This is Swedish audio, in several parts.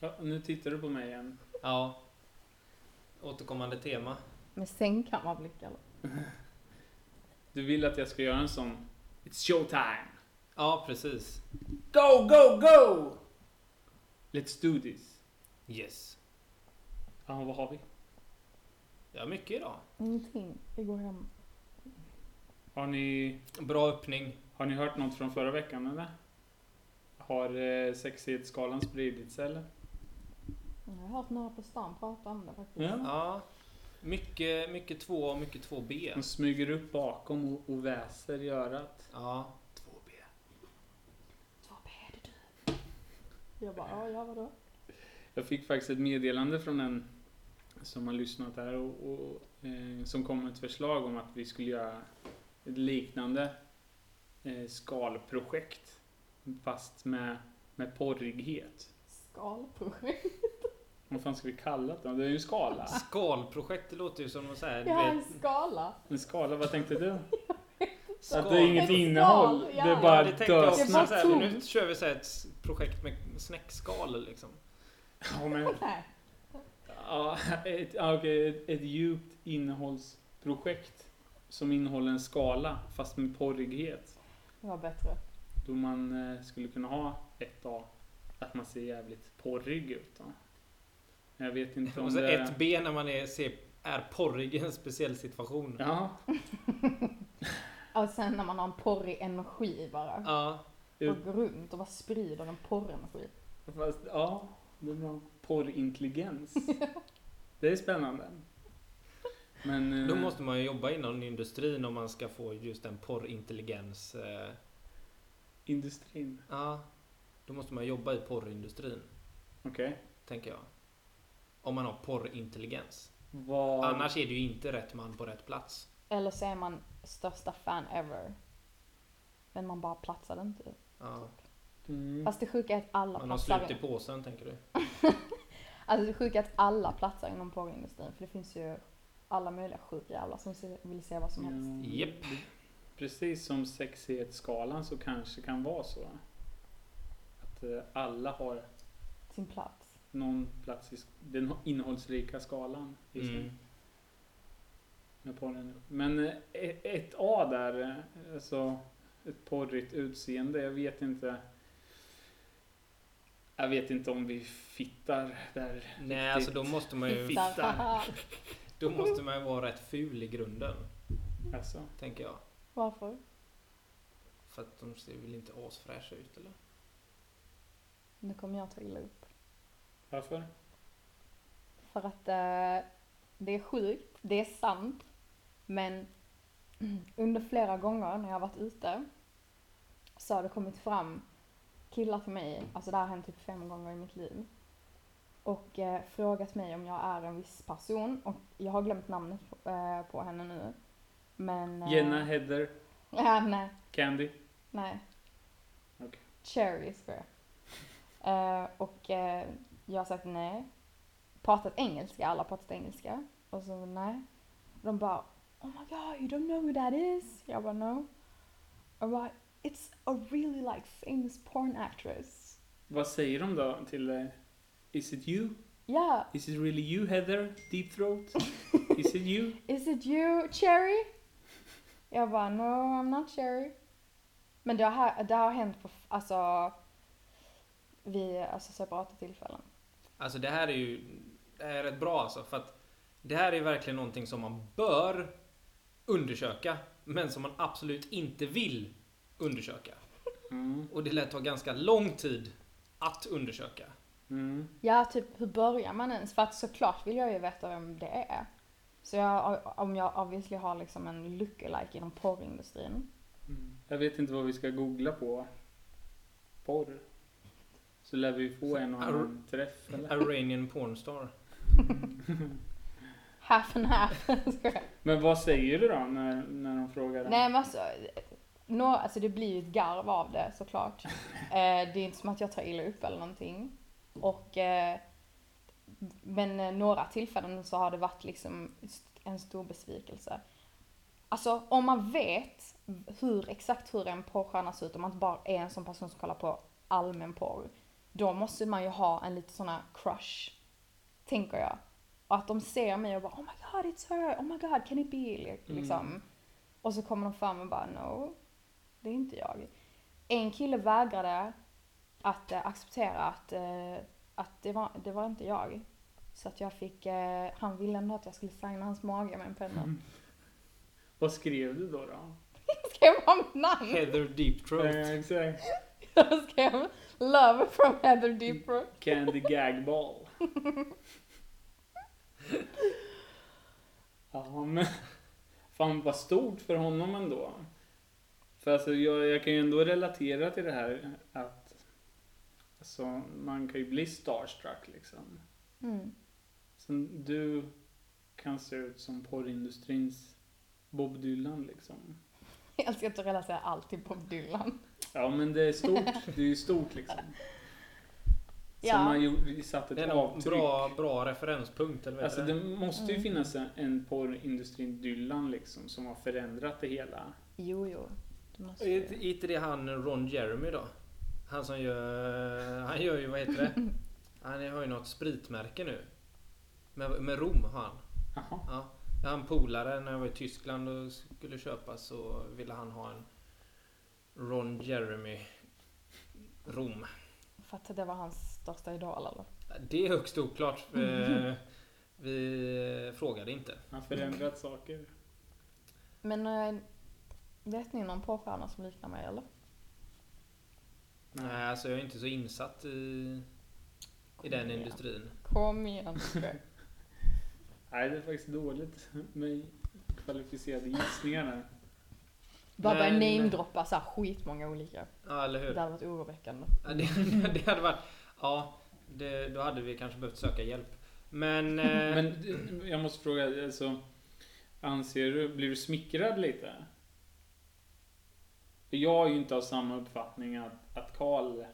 Ja, nu tittar du på mig igen. Ja. Återkommande tema. Med sängkammarblick eller? Du vill att jag ska göra en sån It's showtime! Ja, precis. Go, go, go! Let's do this. Yes. Ja, vad har vi? Ja, mycket idag. Ingenting. Vi går hem. Har ni, Bra öppning. har ni hört något från förra veckan eller? Har eh, sexighetsskalan spridits eller? Jag har hört några på stan prata om det faktiskt. Ja. Ja. Mycket, mycket 2A och mycket De 2B. smyger upp bakom och, och väser i örat. Ja. 2B. Vad är det du? Jag bara, ja, ja vadå? Jag fick faktiskt ett meddelande från en som har lyssnat här och, och eh, som kom med ett förslag om att vi skulle göra ett liknande eh, skalprojekt fast med, med porrighet. Skalprojekt. Vad fan ska vi kalla det? Det är ju en skala. Skalprojekt, det låter ju som något så här, du Jag har vet, en skala. En En skala, vad tänkte du? skal. Att det är inget Skal, innehåll, ja. det är Ja, bara det tänkte jag också. Det är bara dösnack. Så här, nu tomt. kör vi så här ett s- projekt med snäckskal liksom. Ja, men- Nej. Ja, ett, ja, okej, ett, ett djupt innehållsprojekt som innehåller en skala fast med porrighet. Det var bättre. Då man eh, skulle kunna ha ett av att man ser jävligt porrig ut. Då. Men Jag vet inte om Och så det... Alltså ett B när man är, ser, är porrig i en speciell situation. Ja. Ja, Och sen när man har en porrig energi bara. Och går runt och bara sprider en porrenergi. fast ja, det är bra. Porrintelligens. det är spännande. Men... eh, Då måste man ju jobba inom industrin om man ska få just en porrintelligens. eh, Industrin. Ja. Då måste man jobba i porrindustrin, Okej. tänker jag. Om man har porrintelligens. Vad... Annars är det ju inte rätt man på rätt plats. Eller så är man största fan ever. Men man bara platsade inte. Ja. Mm. Fast det sjuka är att alla Man har platsar slut i in. påsen, tänker du? Alltså det sjuka är att alla platsar inom porrindustrin. För det finns ju alla möjliga sjukjävlar som se- vill se vad som Ja, helst. Japp. Precis som sexighetsskalan så kanske kan vara så. Att eh, alla har Sin plats. någon plats i sk- den innehållsrika skalan. i sig. Mm. Med porren. Men eh, e- ett A där, eh, alltså ett porrigt utseende, jag vet inte. Jag vet inte om vi fittar där. Nej, alltså då måste man Typ ju... Fittar. Då måste man ju vara rätt ful i grunden, Alltså, tänker jag. Varför? För att de ser väl inte asfräscha ut, eller? Nu kommer jag ta illa upp. varför? För att eh, det är sjukt, det är sant. Men under flera gånger när jag har varit ute så har det kommit fram killar till mig, alltså det här har hänt typ fem gånger i mitt liv. Och eh, frågat mig om jag är en viss person och jag har glömt namnet på, eh, på henne nu. Men... eh, Jenna, Heather, Ja, nej. Candy. Nej. Okej. Cherry ska jag. Eh, och eh, jag har sagt nej. Pratat engelska, alla har pratat engelska. Och så nej. De bara Oh my god, you don't know who that is? Jag bara no. Och bara, It's a really like famous porn actress. Vad säger de då till dig? Is it you? Yeah, Is it really you Heather? Deep throat? Is it you? is it you Cherry? Jag bara no, I'm not Cherry. Men det har, det har hänt på, alltså, vid alltså, separata tillfällen. Alltså det här är ju det här är rätt bra alltså för att det här är verkligen någonting som man bör undersöka men som man absolut inte vill undersöka. Mm. Och det lär ta ganska lång tid att undersöka. Mm. Ja, typ hur börjar man ens? För att såklart vill jag ju veta vem det är. Så jag, om jag obviously har liksom en lookalike inom porrindustrin. Mm. Jag vet inte vad vi ska googla på. Porr. Så lär vi få en och annan träff eller? Iranian pornstar. Half and half. Ska jag- Men vad säger du då när, när de frågar dig? Nej men alltså, nå, alltså det blir ju ett garv av det såklart. Eh, det är inte som att jag tar illa upp eller någonting. Och, eh, men eh, några tillfällen så har det varit liksom st- en stor besvikelse. Alltså om man vet hur, exakt hur en porrstjärna ser ut, om man inte bara är en sån person som kollar på allmän porr. Då måste man ju ha en lite sån här crush, tänker jag. Och att de ser mig och bara oh my god it's her, oh my god can it be? li- Liksom. Och så kommer de fram och bara no, det är inte jag. En kille vägrade att eh, acceptera att, eh, att det, var, det var inte jag. Så att jag fick, eh, han ville ändå att jag skulle signa hans mage med en penna. Vad skrev du då? då? Skrev han mitt namn? Heather Deepthroat. Eh, exakt. Jag skrev Love from Heather Deepro. Candy gag ball. ja, men, fan vad stort för honom ändå. För alltså, jag, jag kan ju ändå relatera till det här att alltså, man kan ju bli starstruck liksom. Mm. Sen, du kan se ut som porrindustrins Bob Dylan liksom. Jag ska inte relatera allt till Bob Dylan. Ja men det är stort, det är ju stort liksom. Ja. Som man gjorde, satte Det är ett en avtryck. bra, bra referenspunkt, eller vad typ- Alltså heter det det? måste ju Mm. finnas en- en porrindustri Dylan liksom som har förändrat det hela. Jo, jo. Det måste Är inte- ju. är inte det han Ron Jeremy då? Han som gör... Han gör ju, vad heter det? Han har ju något spritmärke nu. Med, med Rom har han. Jaha. Ja. Jag hade en polare när jag var i Tyskland och skulle köpa så ville han ha en Ron Jeremy Rom. För att det var hans största idol eller? Det är högst oklart. eh, Vi frågade inte. Han har förändrat saker. Men eh, vet ni någon porrstjärna som liknar mig eller? Nej, alltså jag är inte så insatt i, i den industrin. Kom igen. Nej, det är faktiskt dåligt med kvalificerade gissningar där. Bara börja Men- namedroppa såhär skitmånga olika. Ja, eller hur? Det hade varit oroväckande. Ja, det, det hade varit... Ja, det, då hade vi kanske behövt söka hjälp. Men... eh, Men d- jag måste fråga, alltså, anser du, blir du smickrad lite? För Jag är ju inte av samma uppfattning att, att Karl,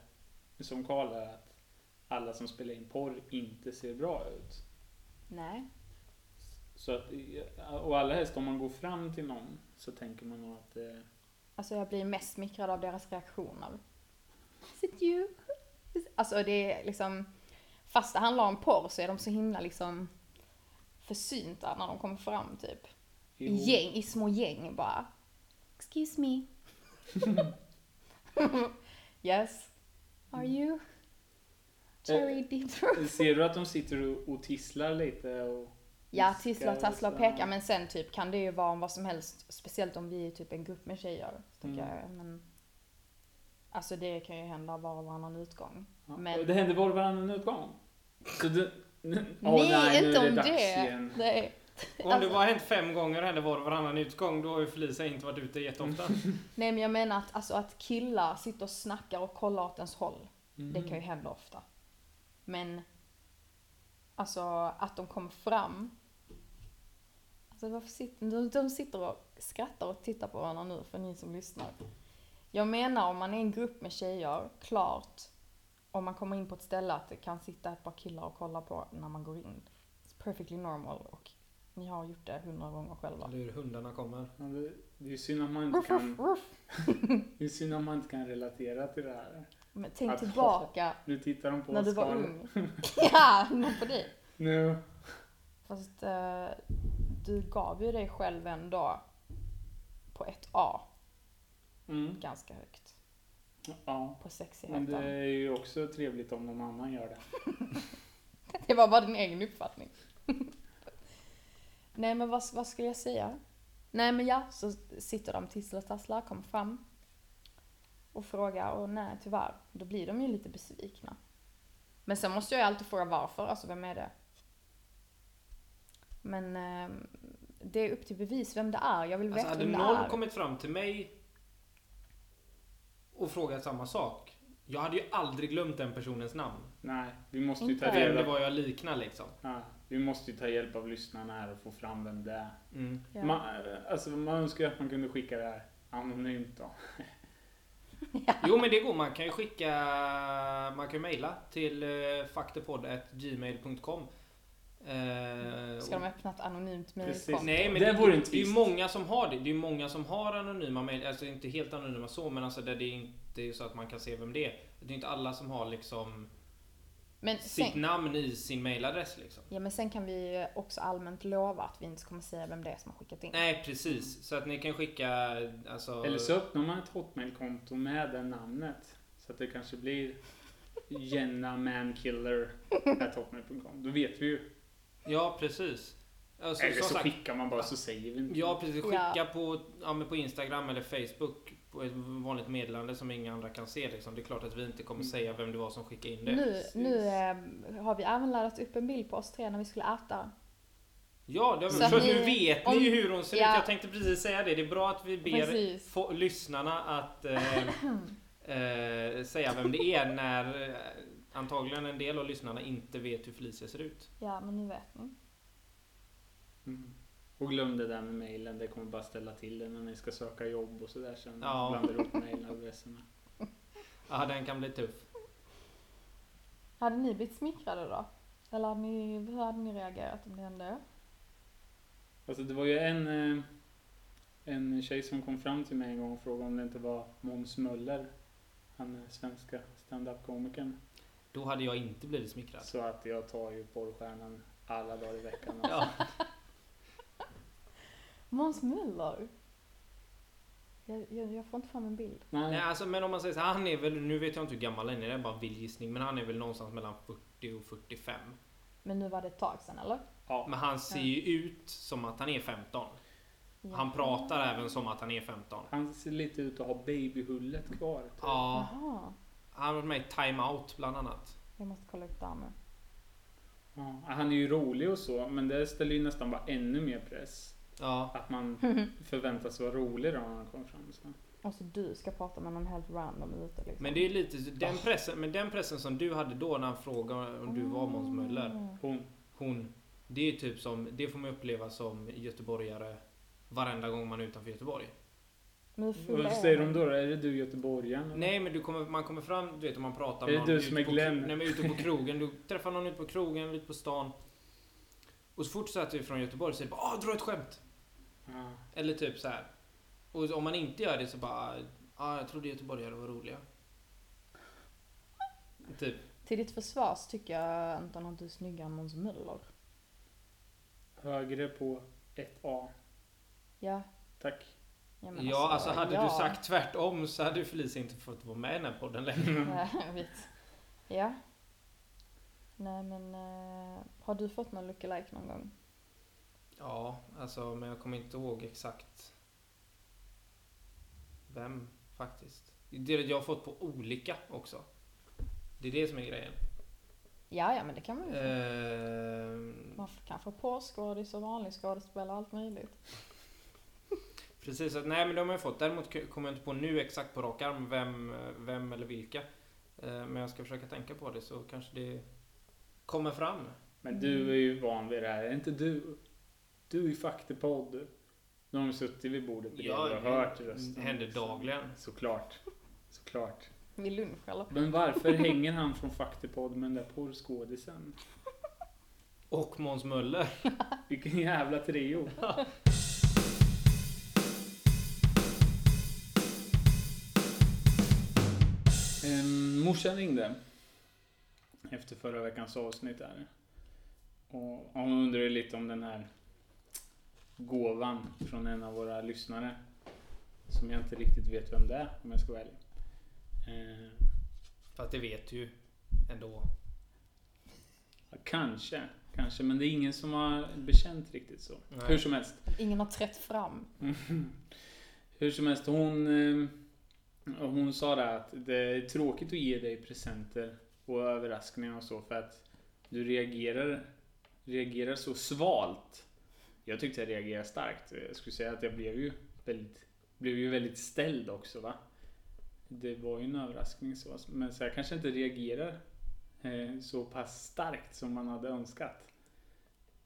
som Karl är, att alla som spelar in porr inte ser bra ut. Nej. Så att, och allra helst om man går fram till någon så tänker man nog att eh, Alltså jag blir mest smickrad av deras reaktioner. Is it you? Is- Alltså det är liksom, fast det handlar om porr så är de så himla liksom försynta när de kommer fram typ. I jo, gäng, i små gäng bara. Excuse me. yes. Are you? Cherry deep throat. Ser du att de sitter och, och tisslar lite? Och Ja, viskar tissla och tassla och så? peka. Men sen typ kan det ju vara om vad som helst. Speciellt om vi är typ en grupp med tjejer. Så Mm. tänker jag, men, alltså det kan ju hända var och varannan utgång. Ja, men- och Det händer var och varannan utgång. Så du, Åh, nej, nu inte är om dags det. igen. Nej. Om Alltså- det bara hänt fem gånger eller var och varannan utgång, då har ju Felicia inte varit ute jätteofta. nej, men jag menar att, alltså, att killar sitter och snackar och kollar åt ens håll. Det kan ju Mm. hända ofta. Men alltså att de kom fram. Alltså varför sitter de, de sitter och skrattar och tittar på varandra nu för ni som lyssnar. Jag menar om man är en grupp med tjejer, klart. Om man kommer in på ett ställe att det kan sitta ett par killar och kolla på när man går in. It's perfectly normal och ni har gjort det hundra gånger själva. Eller hur hundarna kommer. Ja, det, det är ju synd att man inte Ruff, ruff, kan, ruff. det är synd att man inte kan relatera till det här. Men tänk Att- tillbaka Nu tittar de på när oss du var Karl. ung. Ja, någon på dig. Nu. Fast eh, du gav ju dig själv en dag på ett A Mm. ganska högt. Ja. På Men sexigheten. det Det... är ju också trevligt om någon annan gör det. var bara din egen uppfattning. Nej men vad, vad skulle jag säga? Nej men ja, så sitter de tisslar och tasslar, kommer fram och frågar och nej tyvärr, då blir de ju lite besvikna. Men sen måste jag ju alltid fråga varför, alltså vem är det? Men eh, det är upp till bevis vem det är, jag vill Alltså veta hade vem det någon är. kommit fram till mig och frågat samma sak. Jag hade ju aldrig glömt den personens namn. Nej, vi måste ju Inte. ta Vem reda det på. var jag liknar liksom. Ja, vi måste ju ta hjälp av lyssnarna här och få fram vem det är. Mm. Ja. Man, alltså, man önskar ju att man kunde skicka det här anonymt då. Jo men det går, man kan ju skicka, man kan ju mejla till uh, faktepodd.gmail.com eh, Ska de öppna ett anonymt Precis. mejlkonto? Nej men Det det, vore det, en är ju twist. många som har det. Det är ju många som har anonyma mejl, alltså inte helt anonyma så men alltså där det inte är så att man kan se vem det är. Det är inte alla som har liksom Men sitt sen, namn i sin mailadress liksom. ja, men sen kan vi ju också allmänt lova att vi inte kommer säga vem det är som har skickat in. Nej, precis. Så att ni kan skicka alltså... Eller så öppnar man ett Hotmail-konto med det namnet. Så att det kanske blir Jenna Mankiller at hotmail.com. Då vet vi ju. Ja, precis. Alltså, Eller som så sagt, skickar man bara så säger vi inte. Ja, precis. Skicka Ja. På, ja, men på Instagram eller Facebook på ett vanligt meddelande som inga andra kan se. Liksom. Det är klart att vi inte kommer Mm. säga vem det var som skickade in det. Nu, precis. nu eh, har vi även laddat upp en bild på oss tre när vi skulle äta. Ja, det har vi, Så att för ni- nu vet om- ni ju hur hon ser ja. ut. Jag tänkte precis säga det. Det är bra att vi ber Precis. få, lyssnarna att eh, eh, säga vem det är när eh, antagligen en del av lyssnarna inte vet hur Felicia ser ut. Ja, men nu vet ni. Mm. Och glöm det där med mailen. Det kommer bara ställa till det när ni ska söka jobb och sådär sen. Ja. Blandar ihop mailadresserna. Ja, den kan bli tuff. Hade ni blivit smickrade då? Eller hade ni, hur hade ni reagerat om det hände er? Alltså det var ju en, eh, en tjej som kom fram till mig en gång och frågade om det inte var Måns Möller. Han är svenska standup-komikern. Då hade jag inte blivit smickrad. Så att jag tar ju porrstjärnan alla dagar i veckan. Ja, Måns Möller? Jag, jag, jag får inte fram en bild. nej, Nej, alltså, men om man säger så här, han är väl, nu vet jag inte hur gammal han är, det är bara en vild gissning, men han är väl någonstans mellan 40 och 45. Men nu var det ett tag sedan eller? ja. Men han ser ju ut som att han är 15. Ja. Han pratar även som att han är 15. Han ser lite ut att ha babyhullet kvar. tror jag. Ja, Jaha, han har varit med i Time Out bland annat. jag måste kolla upp det här nu. Ja, han är ju rolig och så, men det ställer ju nästan bara ännu mer press. Ja, Att man förväntas vara rolig då när han kommer fram. Så. Och så du ska prata med någon helt random ute liksom. men det är lite den pressen, men den pressen som du hade då när han frågade om du var Måns Möller. Mm. Hon, Hon, det är ju typ som, det får man uppleva som göteborgare varenda gång man är utanför Göteborg. Men hur full vad är säger han? de då? då? Är det du göteborgaren? eller? Nej men du kommer, man kommer fram, du vet om man pratar Är det med du ute som är på, Glenn? Nej men ute på krogen, du träffar någon ute på krogen, ute på stan. Och så fort så att du är från Göteborg så är det bara ah, dra ett skämt! Ja. Eller typ så här. Och om man inte gör det så bara, ah, jag trodde göteborgare var roliga. Typ. Till ditt försvar så tycker jag Anton att du är snyggare än Måns Möller. Högre på 1A. Ja, Tack. jag menar Ja, alltså hade du sagt tvärtom så hade ju Felicia inte fått vara med i den här podden längre. Nej, jag vet. Ja. Nej men, eh, har du fått någon lookalike någon gång? Ja, alltså men jag kommer inte ihåg exakt vem faktiskt. Det är det jag har fått på olika också. Det är det som är grejen. Ja, ja men det kan man ju. Eh. få. Ehm, Man kan få porrskådis och vanlig skådespelare och allt möjligt. Precis, så att, nej men de har jag fått. Däremot k- kommer jag inte på nu exakt på rak arm vem, vem eller vilka. Eh, Men jag ska försöka tänka på det så kanske det kommer fram. Men du är ju van vid det här. Är inte du? Du är ju faktapodd. Nu har de suttit vid bordet bredvid och hört det rösten. händer liksom. dagligen. Såklart. Såklart. Vid lunch eller? Men varför hänger han från Faktapodd med den där porrskådisen? Och Måns Möller. Vilken jävla trio. Ehm, morsan ringde efter förra veckans avsnitt där. Och hon undrade lite om den här gåvan från en av våra lyssnare. Som jag inte riktigt vet vem det är om jag ska vara ärlig. Ehm, Fast det vet du ju ändå. ja, kanske, kanske. Men det är ingen som har bekänt riktigt så. Nej. Hur som helst. Ingen har trätt fram. Mhm. Hur som helst, hon, eh, hon sa det att det är tråkigt att ge dig presenter och överraskningar och så för att du reagerar, reagerar så svalt. Jag tyckte jag reagerade starkt. Jag skulle säga att jag blev ju väldigt, blev ju väldigt ställd också va. Det var ju en överraskning så. Men så jag kanske inte reagerar eh, så pass starkt som man hade önskat.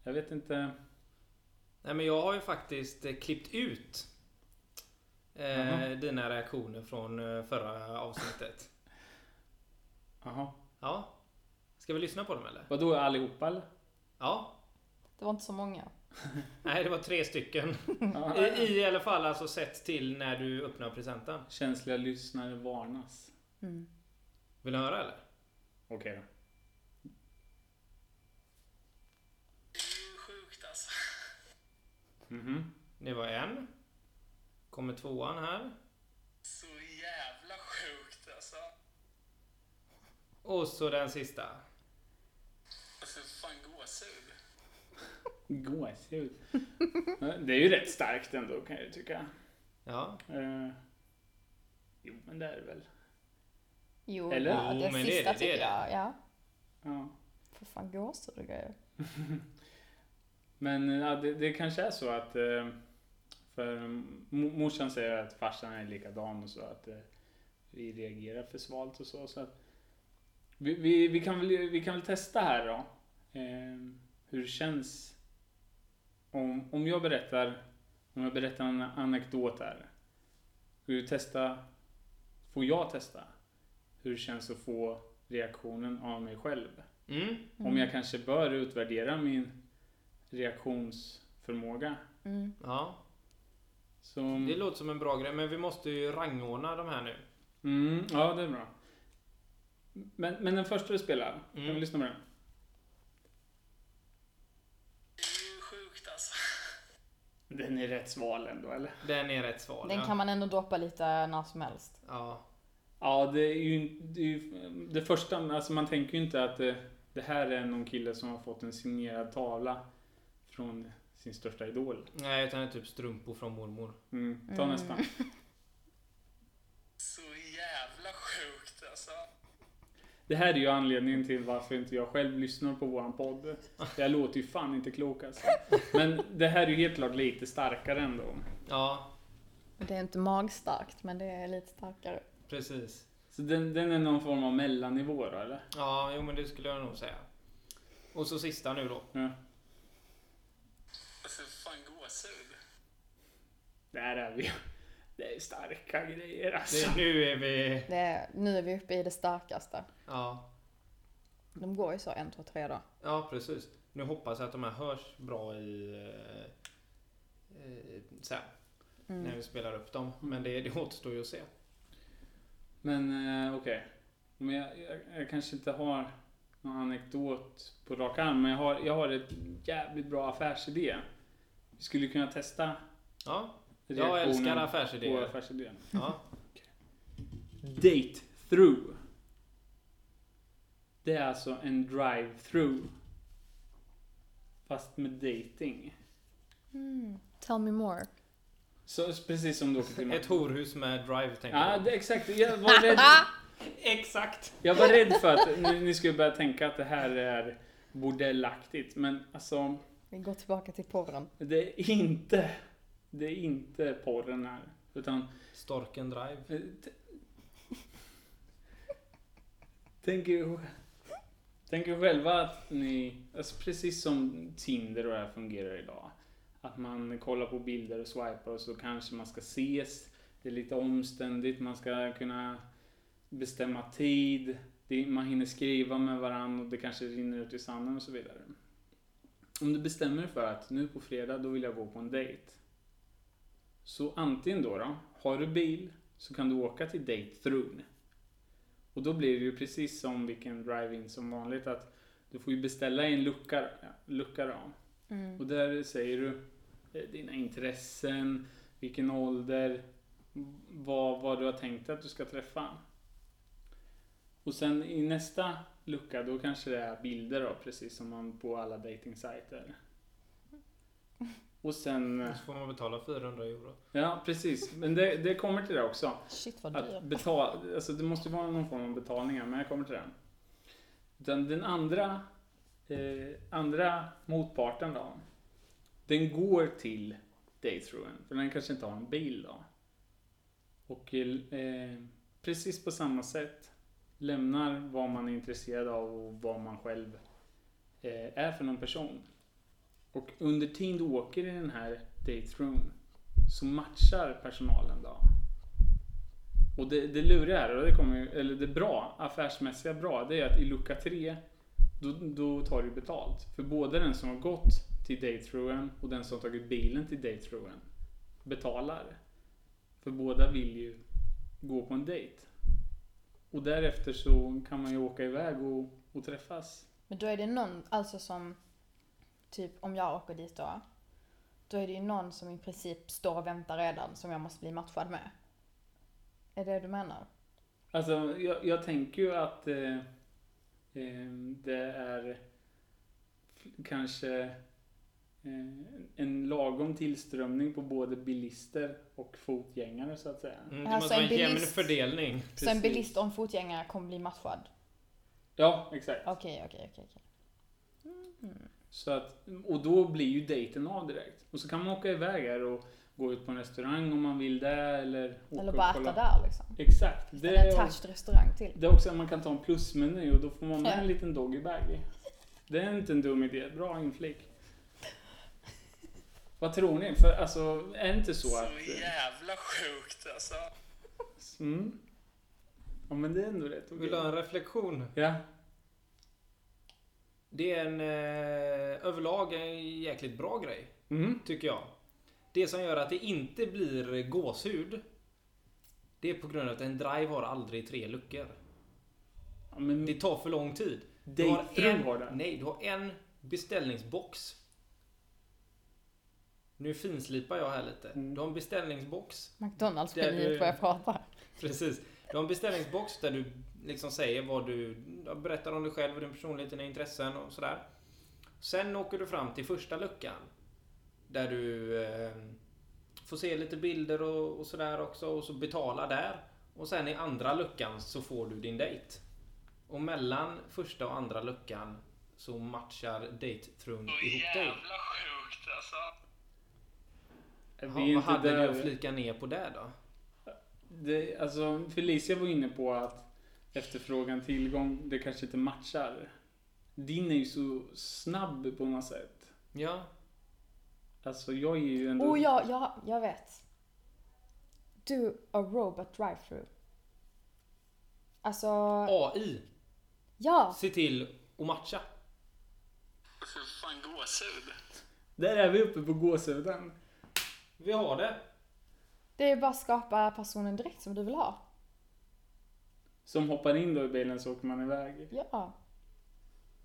Jag vet inte. Nej men jag har ju faktiskt eh, klippt ut eh, Jaha. dina reaktioner från eh, förra avsnittet. Jaha. Ja. Ska vi lyssna på dem eller? Vadå allihopa eller? Ja. Det var inte så många. Nej, det var tre stycken. Ja. I, I alla fall alltså sett till när du öppnar presenten. Känsliga lyssnare varnas. Mm. Vill du höra eller? Okej då. Det är ju sjukt alltså. Mhm. Det var en. Kommer tvåan här. Så jävla sjukt alltså. Och så den sista. För Alltså, fan gåshud. Gåshud. Ja, Det är ju rätt starkt ändå kan jag ju tycka. Ja. Eh, jo, men det är det väl. Jo, Eller? Ja, Jo, den men det är sista det, det är tycker jag. Ja. Ja. För fan gåshud och grejer. Men eh, ja, det, det kanske är så att eh, för m- morsan säger att farsan är likadan och så att eh, vi reagerar för svalt och så. så att vi, vi, vi, kan väl, vi kan väl testa här då. Eh, hur det känns om, om jag berättar om jag berättar en anekdot här. Ska vi testa? Får jag testa? Hur det känns att få reaktionen av mig själv? Mm. Om jag kanske bör utvärdera min reaktionsförmåga. Mm. Ja. Som... Det låter som en bra grej, men vi måste ju rangordna de här nu. Mm, ja, det är bra. Men, men den första du spelar, kan vi Mm. lyssna på den? Det är ju sjukt alltså. Den är rätt sval ändå, eller? Den är rätt sval. Den ja. kan man ändå droppa lite när som helst. ja. Ja, det är ju det, är ju, det första, alltså man tänker ju inte att det, det här är någon kille som har fått en signerad tavla från sin största idol. Nej, utan det är typ strumpor från mormor. Mm, ta Mm. nästa. Så jävla sjukt alltså. Det här är ju anledningen till varför inte jag själv lyssnar på våran podd. Jag låter ju fan inte klok alltså. Men det här är ju helt klart lite starkare ändå. Ja, Det är inte magstarkt, men det är lite starkare. precis. Så den, den är någon form av mellannivå då, eller? Ja, jo men det skulle jag nog säga. Och så sista nu då. Ja. För fan gåshud. Där är vi. Det är starka grejer alltså. Det, nu är vi... Det är, nu är vi uppe i det starkaste. Ja. De går ju så en, två, tre då. ja, precis. Nu hoppas jag att de här hörs bra i... eh, eh, Sen, när Mm. vi spelar upp dem. Men det, det återstår ju att se. Men eh, okej. Men jag, jag, jag kanske inte har någon anekdot på rak arm, men jag har, jag har ett jävligt bra affärsidé. Vi skulle kunna testa Ja, reaktionen jag älskar på affärsidéer. affärsidén. Ja. Date through. Det är alltså en drive through. Fast med dating. Mm. Tell me more. Så precis som du åker till Ett horhus med drive tänker Ja, jag. det, exakt. Jag var, rädd, Exakt! jag var rädd för att ni, ni skulle börja tänka att det här är bordellaktigt. Men alltså, Vi går tillbaka till porren. det är inte, det är inte porren här. Utan, Storken drive. eh, t- tänk, er, tänk er själva att ni, alltså precis som Tinder och det här fungerar idag. Att man kollar på bilder och swipar och så kanske man ska ses. Det är lite omständigt, man ska kunna bestämma tid. Det, man hinner skriva med varandra och det kanske rinner ut i sanden och så vidare. Om du bestämmer dig för att nu på fredag, då vill jag gå på en dejt. Så antingen då, då har du bil så kan du åka till date through. Och då blir det ju precis som vilken drive-in som vanligt att du får ju beställa i en lucka, lucka då. Och Mm. där säger du eh, dina intressen, vilken ålder, m- vad, vad du har tänkt att du ska träffa. Och sen i nästa lucka då kanske det är bilder då, precis som man på alla dating-sajter. Och sen... eh, Så får man betala 400 euro. Ja, precis. Men det, det kommer till det också. Shit vad Att dyr. betala, alltså det måste ju vara någon form av betalningar, men jag kommer till den. Den, den andra, eh, andra motparten då. Den går till daythroughen, för den kanske inte har en bil då. Och eh, precis på samma sätt lämnar vad man är intresserad av och vad man själv eh, är för någon person. Och under tiden du åker i den här daythroughen så matchar personalen då. Och det, det luriga här, och det kommer ju, eller det bra, affärsmässiga bra, det är att i lucka 3 då, då tar du betalt. För både den som har gått till daythroughen och den som har tagit bilen till daythroughen betalar. För båda vill ju gå på en dejt. Och därefter så kan man ju åka iväg och, och träffas. Men då är det någon, alltså som, typ om jag åker dit då. Då är det ju någon som i princip står och väntar redan som jag måste bli matchad med. Är det det du menar? Alltså, jag, jag tänker ju att eh, eh, det är f- kanske eh, en lagom tillströmning på både bilister och fotgängare så att säga. Mm, det Alltså, måste vara en en jämn bilist- fördelning. Så en Precis. bilist och en fotgängare kommer bli matchad? Ja, exakt. Okej, okej, okej. Mm. okej. Så att, och då blir ju dejten av direkt. Och så kan man åka iväg här och gå ut på en restaurang om man vill det eller åka Eller och bara kolla- äta där liksom. Exakt. Det Eller en är, touched restaurang till. det är också att man kan ta en plusmeny och då får man med Ja. en liten doggybag i. Det är inte en dum idé. Bra inflik. Vad tror ni? För alltså, är det inte så att... eh, Så jävla sjukt alltså. Mm. Ja men det är ändå rätt okej. Vill du ha en reflektion? Ja. Det är en eh, överlag en jäkligt bra grej, Mm. tycker jag. Det som gör att det inte blir gåshud, det är på grund av att en drive har aldrig tre luckor. Ja, men Det tar för lång tid. Du har dejtfrun en- har det. Nej, du har en beställningsbox. Nu finslipar jag här lite. Mm. Du har en beställningsbox. Det är McDonalds-geniet det- vad jag pratar. Precis. Du har en beställningsbox där du liksom säger vad du... ja, Berättar om dig själv och din personlighet, dina intressen och sådär. Sen åker du fram till första luckan. Där du eh, får se lite bilder och, och sådär också och så betala där. Och sen i andra luckan så får du din dejt. Och mellan första och andra luckan så matchar dejttrun Så ihop dig. jävla sjukt alltså. Vi är Ja, vad hade där. du att flika ner på där då? Det, alltså, Felicia var inne på att efterfrågan, tillgång, det kanske inte matchar. Din är ju så snabb på något sätt. Ja, Alltså jag är ju ändå... Oh ja, ja, jag vet. Do a robot drive-through. Alltså, AI. ja! Se till att matcha. Så fan gåshud. Där är vi uppe på gåshuden. Vi har det. Det är bara att skapa personen direkt som du vill ha. Som hoppar in då i bilen så åker man iväg. Ja.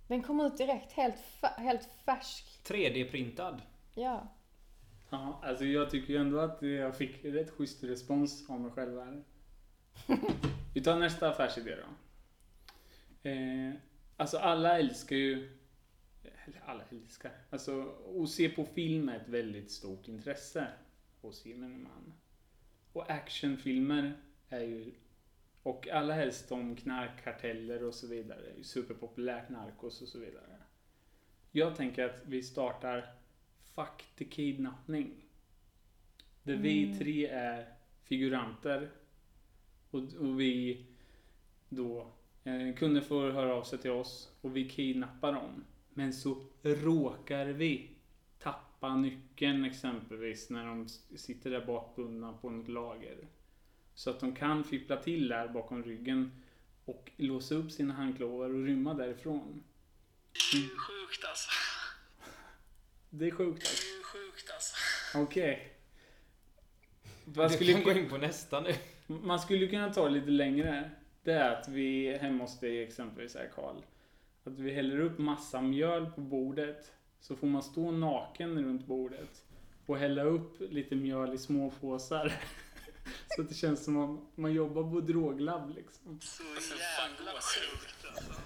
Den kommer ut direkt, helt, fa- helt färsk. 3D-printad. Ja. Ja, alltså jag tycker ju ändå att jag fick rätt schysst respons av mig själv här. Vi tar nästa affärsidé då. Eh, alltså alla älskar ju... Eller alla älskar. Alltså att se på film är ett väldigt stort intresse hos gemene man. Och actionfilmer är ju... Och alla helst om knarkkarteller och så vidare. är ju Superpopulärt, narkos och så vidare. Jag tänker att vi startar Fuck the kidnappning. Där vi Mm. tre är figuranter. Och, och vi då eh, kunde få höra av sig till oss och vi kidnappar dem. Men så råkar vi tappa nyckeln exempelvis när de s- sitter där bakbundna på något lager. Så att de kan fippla till där bakom ryggen och låsa upp sina handklovar och rymma därifrån. Det är sjukt alltså. Det är sjukt alltså. Det är sjukt alltså. Okej. Vad Du skulle kan gå kunna- in på nästa nu. Man skulle kunna ta det lite längre. Det är att vi hemma hos dig exempelvis här Karl. Att vi häller upp massa mjöl på bordet. Så får man stå naken runt bordet. Och hälla upp lite mjöl i små påsar. Så att det känns som om man jobbar på droglabb liksom. Så jävla sjukt alltså.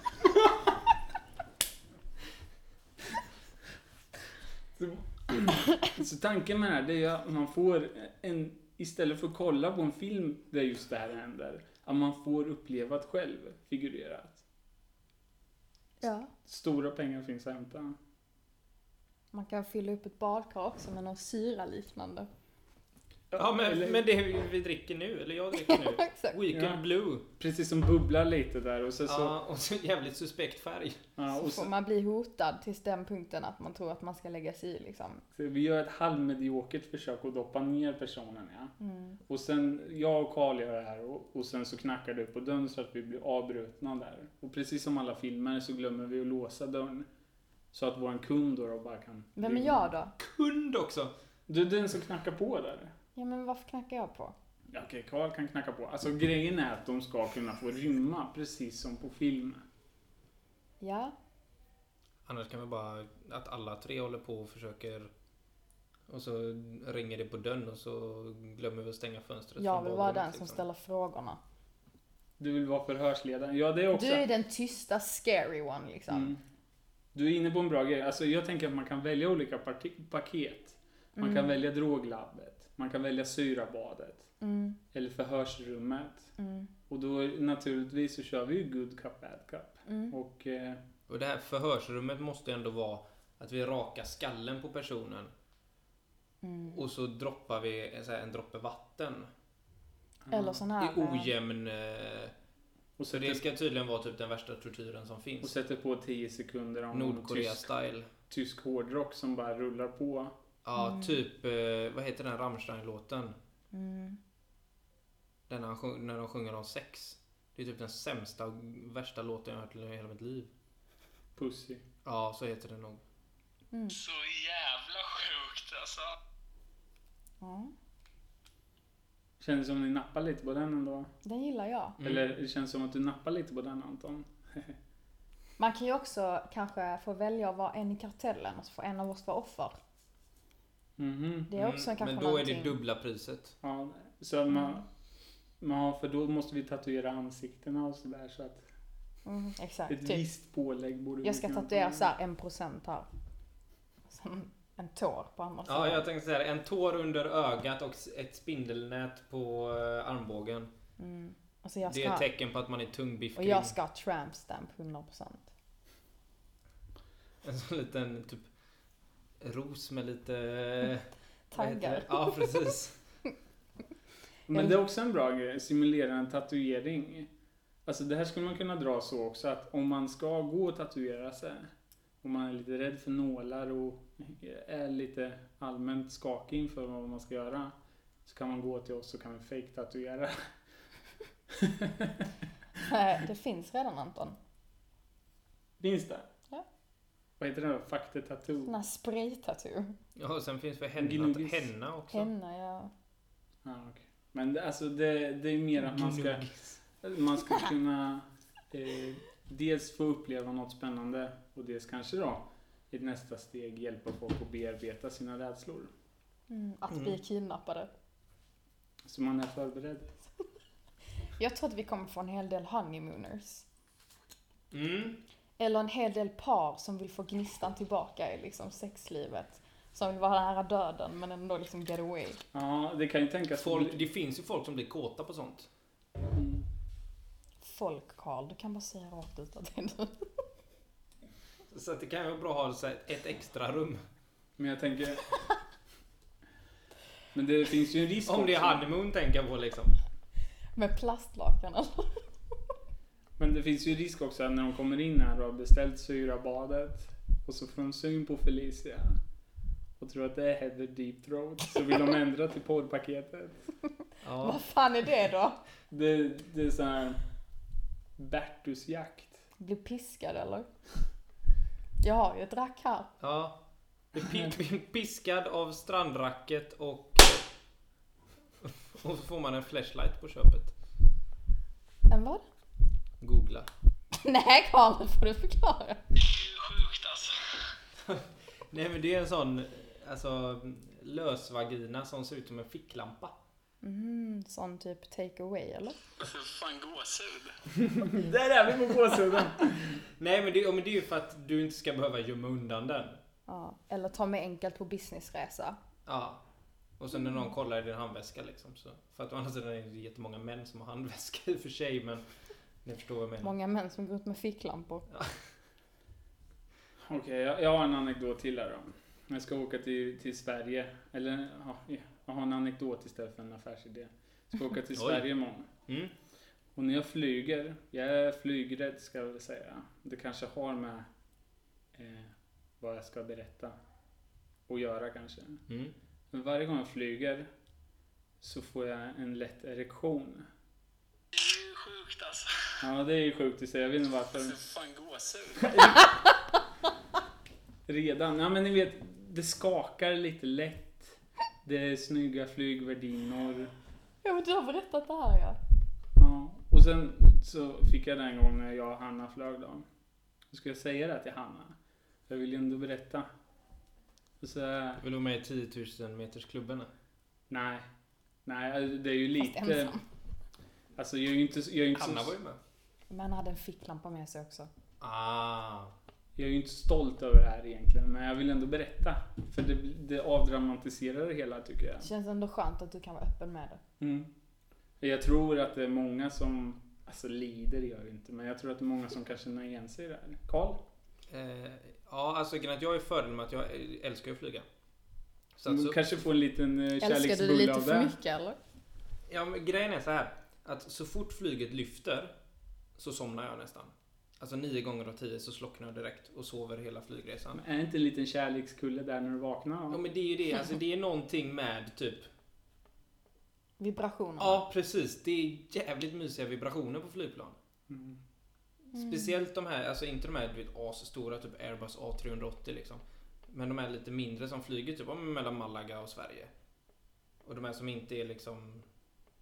Så tanken med det här det är ju att man får en, istället för att kolla på en film där just det här händer, att man får uppleva det själv, figurerat. ja. Stora pengar finns att hämta. Man kan fylla upp ett badkar också med någon syra liknande. Ja, Eller- men, men det vi- vi dricker nu, eller jag dricker nu. Exakt. Weekend Ja. Blue. Precis som bubblar lite där och sen så... Ja, och så jävligt suspekt färg. Ja, och Så får så, man bli hotad tills den punkten att man tror att man ska lägga sig i liksom. så vi gör ett halvmediokert försök att doppa ner personen ja. Mm. Och sen, jag och Karl gör det här och, och sen så knackar du på dörren så att vi blir avbrutna där. Och precis som alla filmer så glömmer vi att låsa dörren. Så att våran kund då, då bara kan... Vem är jag då? Kund också. Du, den som knackar på där. Ja men varför knackar jag på? Ja, Okej, Karl kan knacka på. Alltså grejen är att de ska kunna få rymma precis som på filmen. Ja, Annars kan vi bara att alla tre håller på och försöker och så ringer det på dörren och så glömmer vi att stänga fönstret. jag från vill vara badrummet, den som liksom. ställer frågorna. Du vill vara förhörsledaren. Ja, det är också. Du är den tysta scary one liksom. Mm. Du är inne på en bra grej. Alltså, jag tänker att man kan välja olika parti- paket. Man kan välja droglabbet. Man kan välja syrabadet. Mm, Eller förhörsrummet. mm, Och då naturligtvis så kör vi ju good cup, bad cup. mm. Och eh, Och det här förhörsrummet måste ju ändå vara att vi rakar skallen på personen Mm. och så droppar vi en, så här, en droppe vatten. Eller sån här... I eh, ojämn... eh, och, Så det sätter, ska tydligen vara typ den värsta tortyren som och finns. sätter på 10 sekunder av någon tysk, Nordkorea-style. Mm. tysk hårdrock som bara rullar på. Ja, Mm. typ... eh, Vad heter den Rammstein-låten? Mm. Den han sjung, när de sjunger om sex. Det är typ den sämsta och värsta låten jag har hört i hela mitt liv. Pussy. Ja, så heter den nog. Mm. Så jävla sjukt alltså. Ja, Känns som ni nappar lite på den ändå. den gillar jag. Mm. Eller det känns som att du nappar lite på den Anton. Man kan ju också kanske få välja att vara en i kartellen och så får en av oss vara offer. Mhm. Det är också kanske Mm, Men då någonting. är det dubbla priset. Ja, så att Mm. man, man... För då måste vi tatuera ansiktena och sådär så att Mm, exakt, ett typ. visst pålägg borde vi Jag ska kunna tatuera få. såhär en procent här. Sen en tår på andra sidan. Ja, jag tänkte säga det. En tår under ögat och s- ett spindelnät på eh, armbågen. mm. och, så jag Det är ska, ett tecken på att man är tungbiffkrig. och jag ska ha tramp stamp 100%. En sån liten typ ros med lite... vad heter Taggar. det? Ja, precis. Men det är också en bra grej, simulera en tatuering. Alltså det här skulle man kunna dra så också att om man ska gå och tatuera sig, om man är lite rädd för nålar och är lite allmänt skakig inför vad man ska göra, så kan man gå till oss så kan vi fake tatuera Nej, det finns redan Anton. Finns det? Ja. Vad heter det då? Fakte Sån Tattoo? här spray-tattoo. Ja, och sen finns det henna, Gnuggis. henna också. Henna, ja. Ja, okej. Men det, alltså det, det är mer att man ska, man ska kunna eh, dels få uppleva något spännande och dels kanske då i ett nästa steg hjälpa folk att bearbeta sina rädslor. Mm, att bli Mm. kidnappade. Så man är förberedd. Jag tror att vi kommer få en hel del honeymooners. Mm. Eller en hel del par som vill få gnistan tillbaka i liksom sexlivet. Som vill vara nära döden men ändå liksom get away. Ja, det kan ju tänkas... Folk, det finns ju folk som blir kåta på sånt. Mm. Folk Karl, du kan bara säga rakt ut att det är du. Så att det kan ju vara bra att ha så här ett extra rum. Men jag tänker... Men det finns ju en risk Om det också. är honeymoon tänker jag på liksom. Med plastlakan eller? Men det finns ju risk också att när de kommer in här och har beställt syrabadet och så får de syn på Felicia och tror att det är Heather Deep Throat så vill de ändra till porrpaketet. Ja. Vad fan är det då? Det, det är sån här Bertusjakt. Bli piskad eller? Jag har ju ett rack här. ja. Blir pi- Piskad av strandracket och... Och så får man en flashlight på köpet. En vad? Googla. Nej Karl, nu får du förklara. Det är sjukt alltså. Nej men det är en sån alltså, lösvagina som ser ut som en ficklampa. Mm, sån typ take away eller? För fan gåshud. Där är vi på gåshuden! Nej men det, ja, men det är ju för att du inte ska behöva gömma undan den. Ja, eller ta mig enkelt på businessresa. Ja. Och sen när någon kollar i din handväska liksom. Så. För att å andra sidan är det jättemånga män som har handväska i och för sig men ni förstår vad jag menar. Många män som går ut med ficklampor. Okej, jag, jag har en anekdot till här då. Jag ska åka till, till Sverige. Eller, ja, jag har en anekdot istället för en affärsidé. Jag ska åka till Oj. Sverige imorgon. Mm. Och när jag flyger, jag är flygrädd ska jag väl säga. Det kanske har med eh, vad jag ska berätta och göra kanske. Mm. Men varje gång jag flyger så får jag en lätt erektion. Det är sjukt alltså. Ja, det är ju sjukt att säga. Jag vet inte varför. För fan gåshud. Redan. Ja, men ni vet, det skakar lite lätt. Det är snygga flygvärdinnor. Ja men du har berättat det här ja. Ja. Och sen så fick jag den gången när jag och Hanna flög då. Då skulle jag säga det till Hanna. Jag vill ju ändå berätta. Och så, Vill du vara med i 10 000 meters klubben? nej. Nej, alltså, det är ju Fast lite... ensam. Alltså jag är ju inte, jag är ju inte, Hanna så, var ju med. Men han hade en ficklampa med sig också. Ah. jag är ju inte stolt över det här egentligen. Men jag vill ändå berätta. För det, det avdramatiserar det hela tycker jag. Det känns ändå skönt att du kan vara öppen med det. Mm. Jag tror att det är många som, alltså lider gör jag inte, men jag tror att det är många som kanske känner igen sig i det här. Karl? Eh, ja, alltså grejen är att jag är fördel med att jag älskar ju att flyga. Så att Som så, kanske får en liten eh, Älskar du det kärleksbulle lite av för det. mycket eller? ja, men grejen är så här. Att så fort flyget lyfter så somnar jag nästan. Alltså nio gånger av tio så slocknar jag direkt och sover hela flygresan. Men Är det inte en liten kärlekskulle där när du vaknar? Ja men det är ju det, alltså det är någonting med typ Vibrationer. Ja precis, det är jävligt mysiga vibrationer på flygplan. Mm. Speciellt de här, alltså inte de här du vet, asstora, typ Airbus A380 liksom. Men de här lite mindre som flyger typ ja, men mellan Malaga och Sverige. Och de här som inte är liksom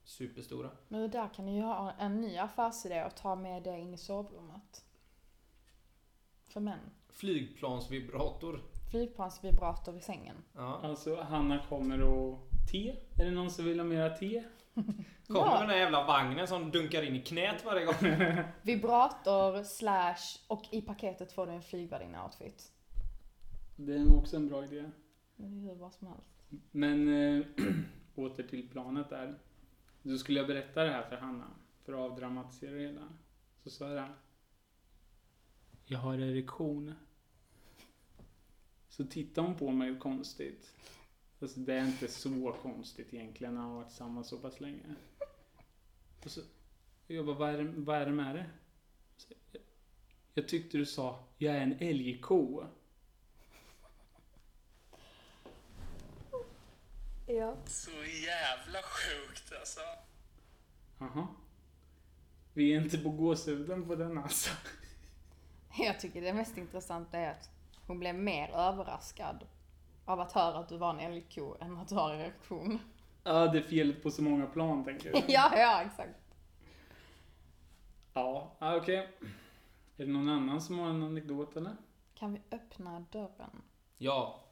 superstora. Men det där kan du ju ha en ny affärsidé och ta med det in i sovrummet. För män. Flygplansvibrator. Flygplansvibrator i sängen. Ja. Alltså Hanna kommer och... Te? Är det någon som vill ha mera te? Kommer Ja. den här jävla vagnen som dunkar in i knät varje gång. Vibrator slash och i paketet får du en flygvärdinna-outfit. Det är nog också en bra idé. Men det är hur bra som helst. Men eh, åter till planet där. Då skulle jag berätta det här för Hanna, för att avdramatisera det hela. Så sa jag Jag har erektion. Så tittade hon på mig konstigt. Alltså det är inte så konstigt egentligen när man har varit tillsammans så pass länge. Och så, jag bara, vad är, det- vad är det med det? Så, jag, jag tyckte du sa, jag är en älgko. Ja. Så jävla sjukt alltså. Jaha. Vi är inte på gåshuden på den alltså. Jag tycker det mest intressanta är att hon blev mer överraskad av att höra att du var en älgko än att du har en reaktion. Ja, det är fel på så många plan tänker du? ja, ja, exakt. Ja, ah, okej. Är det någon annan som har en anekdot eller? Kan vi öppna dörren? Ja.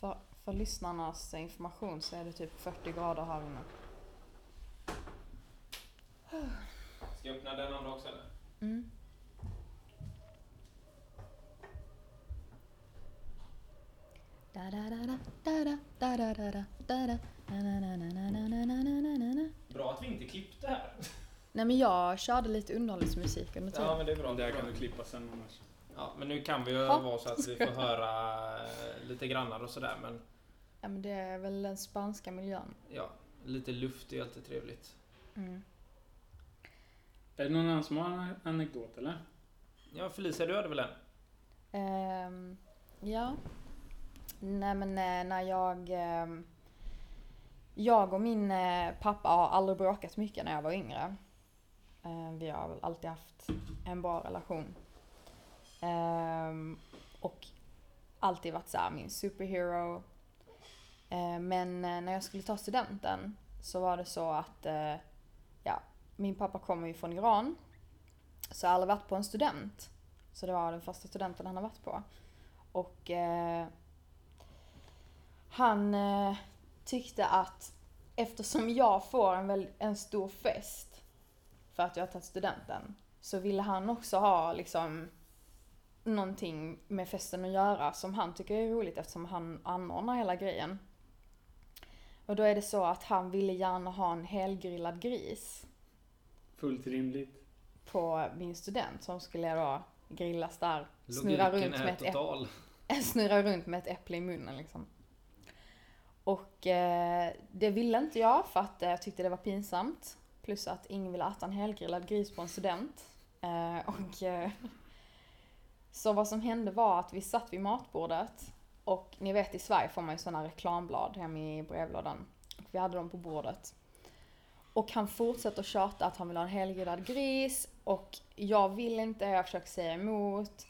För, för lyssnarnas information så är det typ 40 grader här inne. Ska jag öppna den andra också eller? Mm. Bra att vi inte klippte här. Nej men jag körde lite underhållningsmusik under tiden. men det är bra. Det här kan du klippa sen annars. Ja, men nu kan vi ju Ja. vara så att vi får höra eh, lite grannar och sådär men Ja men det är väl den spanska miljön. ja, lite luft är alltid trevligt. Mm. Är det någon annan som har en anekdot eller? Ja, Felicia, du hade väl en? Ehm, ja. Nej men eh, när jag... ehm, jag och min eh, pappa har aldrig bråkat mycket när jag var yngre. Eh, vi har väl alltid haft en bra relation. Ehm, och alltid varit så här, min superhero. Eh, men eh, när jag skulle ta studenten så var det så att eh, ja, min pappa kommer ju från Iran. Så jag har aldrig varit på en student. Så det var den första studenten han har varit på. Och eh, han eh, tyckte att eftersom jag får en, väl, en stor fest för att jag har tagit studenten så ville han också ha liksom någonting med festen att göra som han tycker är roligt eftersom han anordnar hela grejen. Och då är det så att han ville gärna ha en helgrillad gris Fullt rimligt. på min student som skulle då grillas där. Snurra Logiken runt med är ett äpple total. snurrar runt med ett äpple i munnen liksom. Och eh, det ville inte jag för att eh, jag tyckte det var pinsamt. Plus att ingen ville äta en helgrillad gris på en student. Eh, och, eh, så vad som hände var att vi satt vid matbordet och ni vet i Sverige får man ju sådana reklamblad hem i brevlådan. Och vi hade dem på bordet. Och han fortsätter att tjata att han vill ha en helgrillad gris och jag vill inte, jag försöker säga emot.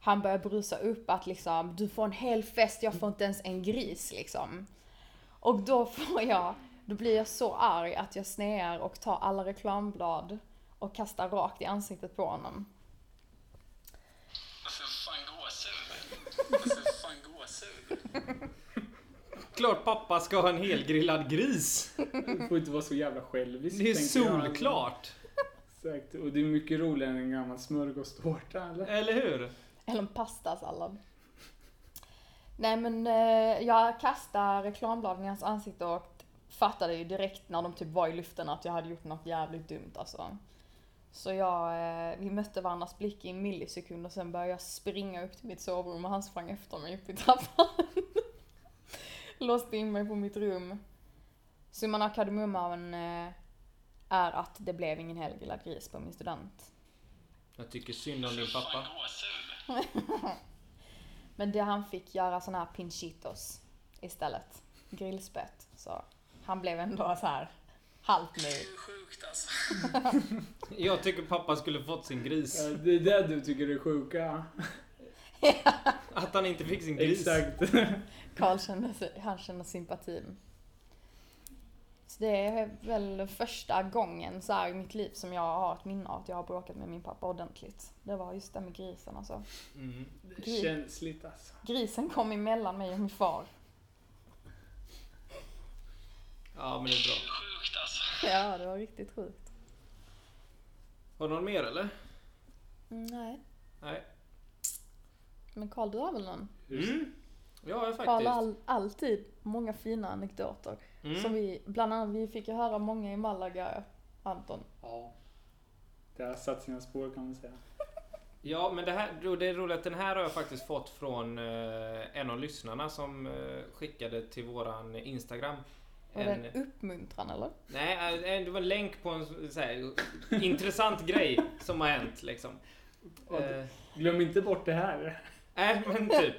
Han börjar brusa upp att liksom, du får en hel fest, jag får inte ens en gris liksom. Och då får jag Då blir jag så arg att jag snear och tar alla reklamblad och kastar rakt i ansiktet på honom. Och sen fan gåshud. Och sen fan gåshud. Klart pappa ska ha en helgrillad gris. Du får inte vara så jävla självisk. Det är tänker jag. solklart. Exakt. Och det är mycket roligare än en gammal smörgåstårta eller? Eller hur? Eller en pastasallad. Nej men eh, jag kastade reklambladen i hans ansikte och fattade ju direkt när de typ var i luften att jag hade gjort något jävligt dumt alltså. Så jag, eh, vi mötte varandras blick i en millisekund och sen började jag springa upp till mitt sovrum och han sprang efter mig upp i trappan. Låste in mig på mitt rum. Summan av kardemumman eh, är att det blev ingen helgrillad gris på min student. Jag tycker synd Och om sen din pappa. fan gåshud. Men det han fick göra såna här pinchitos istället. Grillspett. Så han blev ändå så här halvt Det nöjd. är sjukt alltså. Jag tycker pappa skulle fått sin gris. Ja, det är det du tycker är sjuka. Att han inte fick sin gris. Exakt. Karl känner, sig- han känner sympatin. Så det är väl första gången så här i mitt liv som jag har ett minne av att jag har bråkat med min pappa ordentligt. Det var just det med grisen alltså. Mm. Det är känsligt alltså. Grisen kom emellan mig och min far. Ja, men det är Det är bra. sjukt alltså. Ja, det var riktigt sjukt. Har du någon mer eller? Mm, Nej. Nej. Men Karl, du har väl någon? Mm. Ja, jag Karl har faktiskt. all, alltid många fina anekdoter. Som Mm. vi, bland annat, vi fick ju höra många i Malaga, Anton. Ja. Det har satt sina spår kan man säga. Ja, men det, här, det är roligt att den här har jag faktiskt fått från eh, en av lyssnarna som eh, skickade till våran Instagram. Var En- det en uppmuntran eller? Nej, eh, det var en länk på en så här, intressant grej som har hänt liksom. Ja, det- Eh, Glöm inte bort det här. Nej, men typ.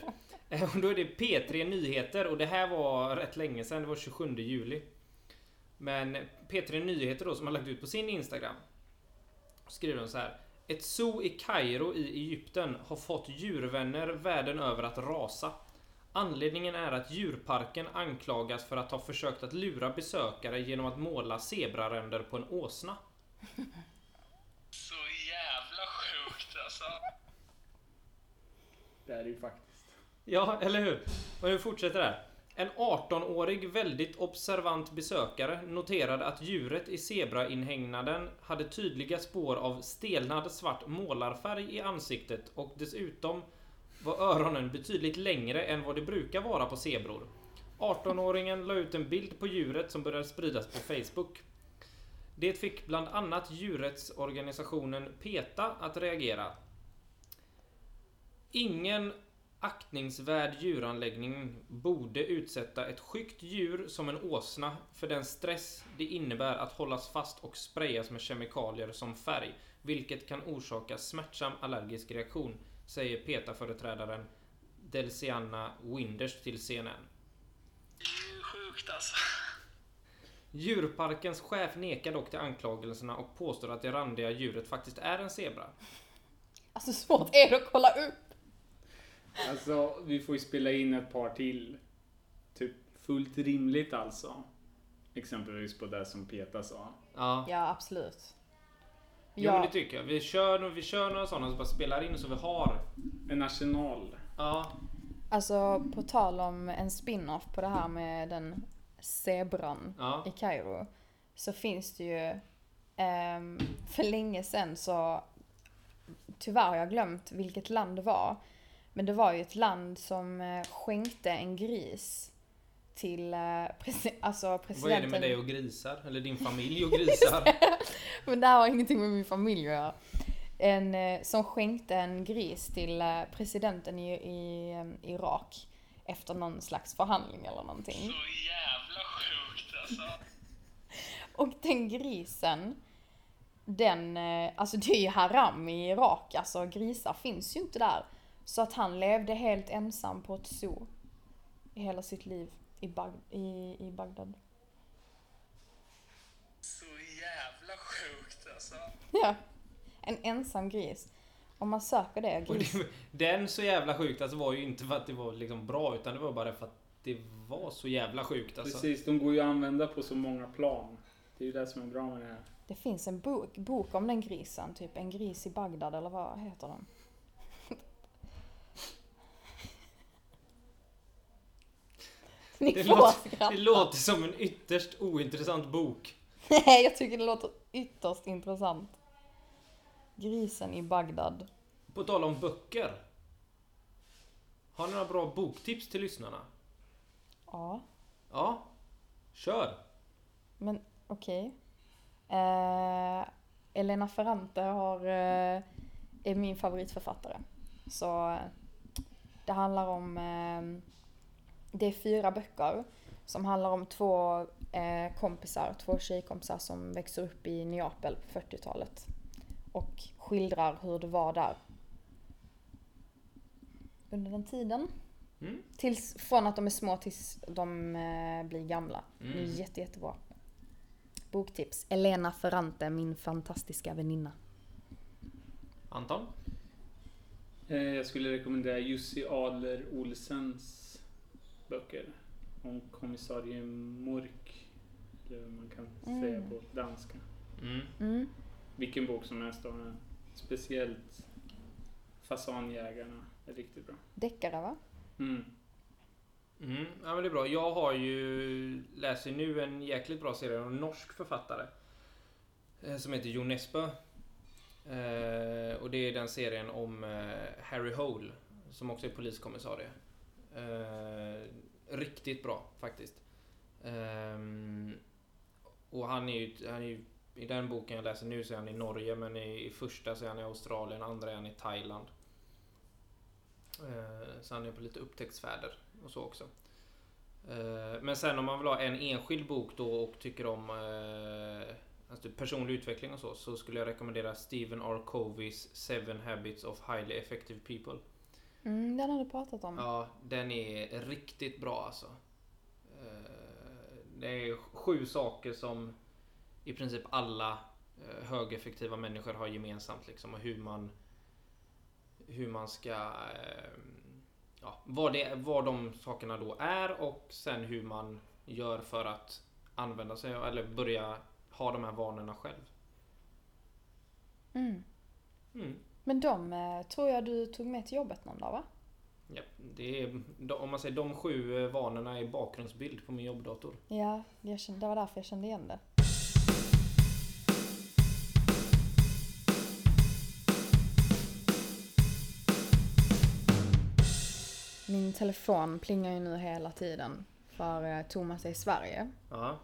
Eh, Och då är det P3 Nyheter och det här var rätt länge sedan, det var 27 juli. Men P3 Nyheter då, som har lagt ut på sin Instagram. Skriver de så här. Ett zoo i Kairo i Egypten har fått djurvänner världen över att rasa. Anledningen är att djurparken anklagas för att ha försökt att lura besökare genom att måla zebraränder på en åsna. Så jävla sjukt alltså. Det är det ju faktiskt. Ja, eller hur? Och nu fortsätter det här. En 18-årig väldigt observant besökare noterade att djuret i zebrainhägnaden hade tydliga spår av stelnad svart målarfärg i ansiktet och dessutom var öronen betydligt längre än vad det brukar vara på zebror. 18-åringen la ut en bild på djuret som började spridas på Facebook. Det fick bland annat djurrättsorganisationen PETA att reagera. Ingen aktningsvärd djuranläggning borde utsätta ett sjukt djur som en åsna för den stress det innebär att hållas fast och sprayas med kemikalier som färg, vilket kan orsaka smärtsam allergisk reaktion, säger PETA-företrädaren Delciana Winders till CNN. Det är sjukt alltså. Djurparkens chef nekar dock till anklagelserna och påstår att det randiga djuret faktiskt är en zebra. Alltså svårt är det att kolla upp! Alltså, vi får ju spela in ett par till. Typ fullt rimligt alltså. Exempelvis på det som Peta sa. Ja, Ja, absolut. Jo, men Ja, det tycker jag. Vi kör, vi kör några sådana så bara spelar in så vi har... En arsenal. Ja, alltså på tal om en spin-off på det här med den zebran ja. i Kairo. Så finns det ju, ehm, för länge sedan så, tyvärr har jag glömt vilket land det var. Men det var ju ett land som eh, skänkte en gris till eh, presi- alltså Vad är det presidenten. med dig och grisar? Eller din familj och grisar? Men det här har ingenting med min familj att göra. En, eh, som skänkte en gris till eh, presidenten i, i eh, Irak efter någon slags förhandling eller någonting. Så jävla sjukt alltså. Och den grisen, den, eh, alltså det är ju haram i Irak, alltså grisar finns ju inte där. Så att han levde helt ensam på ett zoo i hela sitt liv i, Bag i, i Bagdad. Så jävla sjukt alltså. Ja, en ensam gris. Om man söker det, Och gris. det, den så jävla sjukt alltså var ju inte för att det var liksom bra utan det var bara för att alltid vara så jävla sjukt alltså. Precis, de går ju att använda på så många plan. Det är ju det som är bra med det här. Det finns en bok, bok om den grisen, typ En gris i Bagdad eller vad heter den? Ni Det får låter- Det skratta. låter som en ytterst ointressant bok. Nej, jag tycker det låter ytterst intressant. Grisen i Bagdad. På tal om böcker. Har ni några bra boktips till lyssnarna? Ja, Ja. Kör! men okej. Eh, Elena Ferrante har, eh, är min favoritförfattare. Så eh, det handlar om... Eh, det är fyra böcker som handlar om två eh, kompisar, två tjejkompisar som växer upp i Neapel på 40-talet. Och skildrar hur det var där. Under den tiden. Mm. Tills, från att de är små tills de eh, blir gamla. Mm. Det är jätte, jättebra. Boktips. Elena Ferrante, min fantastiska väninna. Anton? Eh, Jag skulle rekommendera Jussi Adler Olsens böcker. Om kommissarie Mörk. Eller vad man kan säga Mm. på danska. Mm. Mm. Vilken bok som helst av den. Speciellt Fasanjägarna är riktigt bra. Deckare va? Mm. Mm. Ja men det är bra. Jag har ju, läser nu en jäkligt bra serie av en norsk författare. eh, Som heter Jo Nesbø. Eh, och det är den serien om eh, Harry Hole. Som också är poliskommissarie. Eh, riktigt bra faktiskt. Ehm, och han är ju, han är ju, i den boken jag läser nu så är han i Norge men i, i första så är han i Australien, andra är han i Thailand. Eh, Så han är på lite upptäcktsfärder och så också. Eh, Men sen om man vill ha en enskild bok då och tycker om eh, alltså personlig utveckling och så, så skulle jag rekommendera Stephen R. Coveys Seven Habits of Highly Effective People. Mm, den har du pratat om. Ja, den är riktigt bra alltså. Eh, Det är sju saker som i princip alla eh, högeffektiva människor har gemensamt liksom och hur man hur man ska eh, ja, vad, det, vad de sakerna då är och sen hur man gör för att använda sig av- eller börja ha de här vanorna själv. Mm. Mm. Men de eh, tror jag du tog med till jobbet någon dag va? Ja, det är, de- om man säger de sju eh, vanorna är bakgrundsbild på min jobbdator. Ja, jag kände, det var därför jag kände igen det. Min telefon plingar ju nu hela tiden för eh, Thomas är i Sverige. Ja.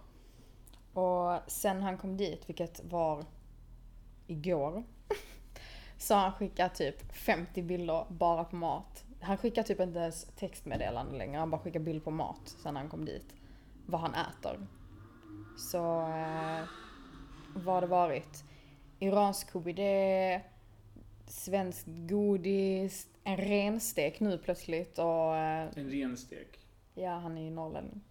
Och sen han kom dit, vilket var igår, så har han skickat typ 50 bilder bara på mat. Han skickar typ inte ens textmeddelande längre, han bara skickar bild på mat sen han kom dit. Vad han äter. Så eh, vad har det varit? Iransk KBD, svensk godis, en renstek nu plötsligt och eh, En renstek. ja, han är ju norrlänning.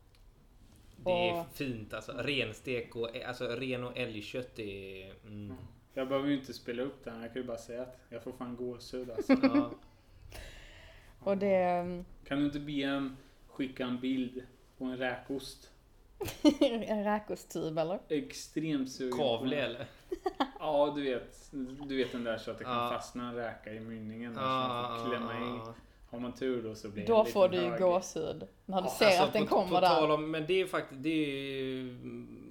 Det är Och- fint alltså. Renstek och alltså ren och älgkött är... Mm. Jag behöver ju inte spela upp den. Jag kan ju bara säga att jag får fan gåshud alltså. Ja. Och det... mm, Kan du inte be en skicka en bild på en räkost? en räkostub eller? Extremt sugen på- Kavle eller? Ja, du vet. Du vet den där så att det kan Ja. fastna en räka i mynningen. och så man Ah, får Mm. klämma in. Har man tur då så blir det Då en liten får du ju hög. gåshud. När du Ja, ser alltså, att den på, kommer på där. Tal om, men det är faktiskt det är ju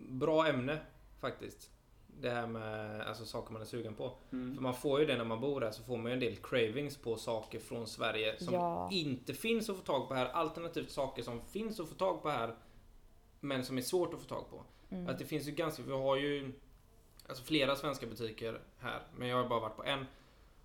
bra ämne faktiskt. Det här med alltså, saker man är sugen på. För Mm. man får ju det när man bor här så får man ju en del cravings på saker från Sverige som Ja. inte finns att få tag på här. Alternativt saker som finns att få tag på här men som är svårt att få tag på. Mm. Att det finns ju ganska, vi har ju alltså flera svenska butiker här men jag har bara varit på en.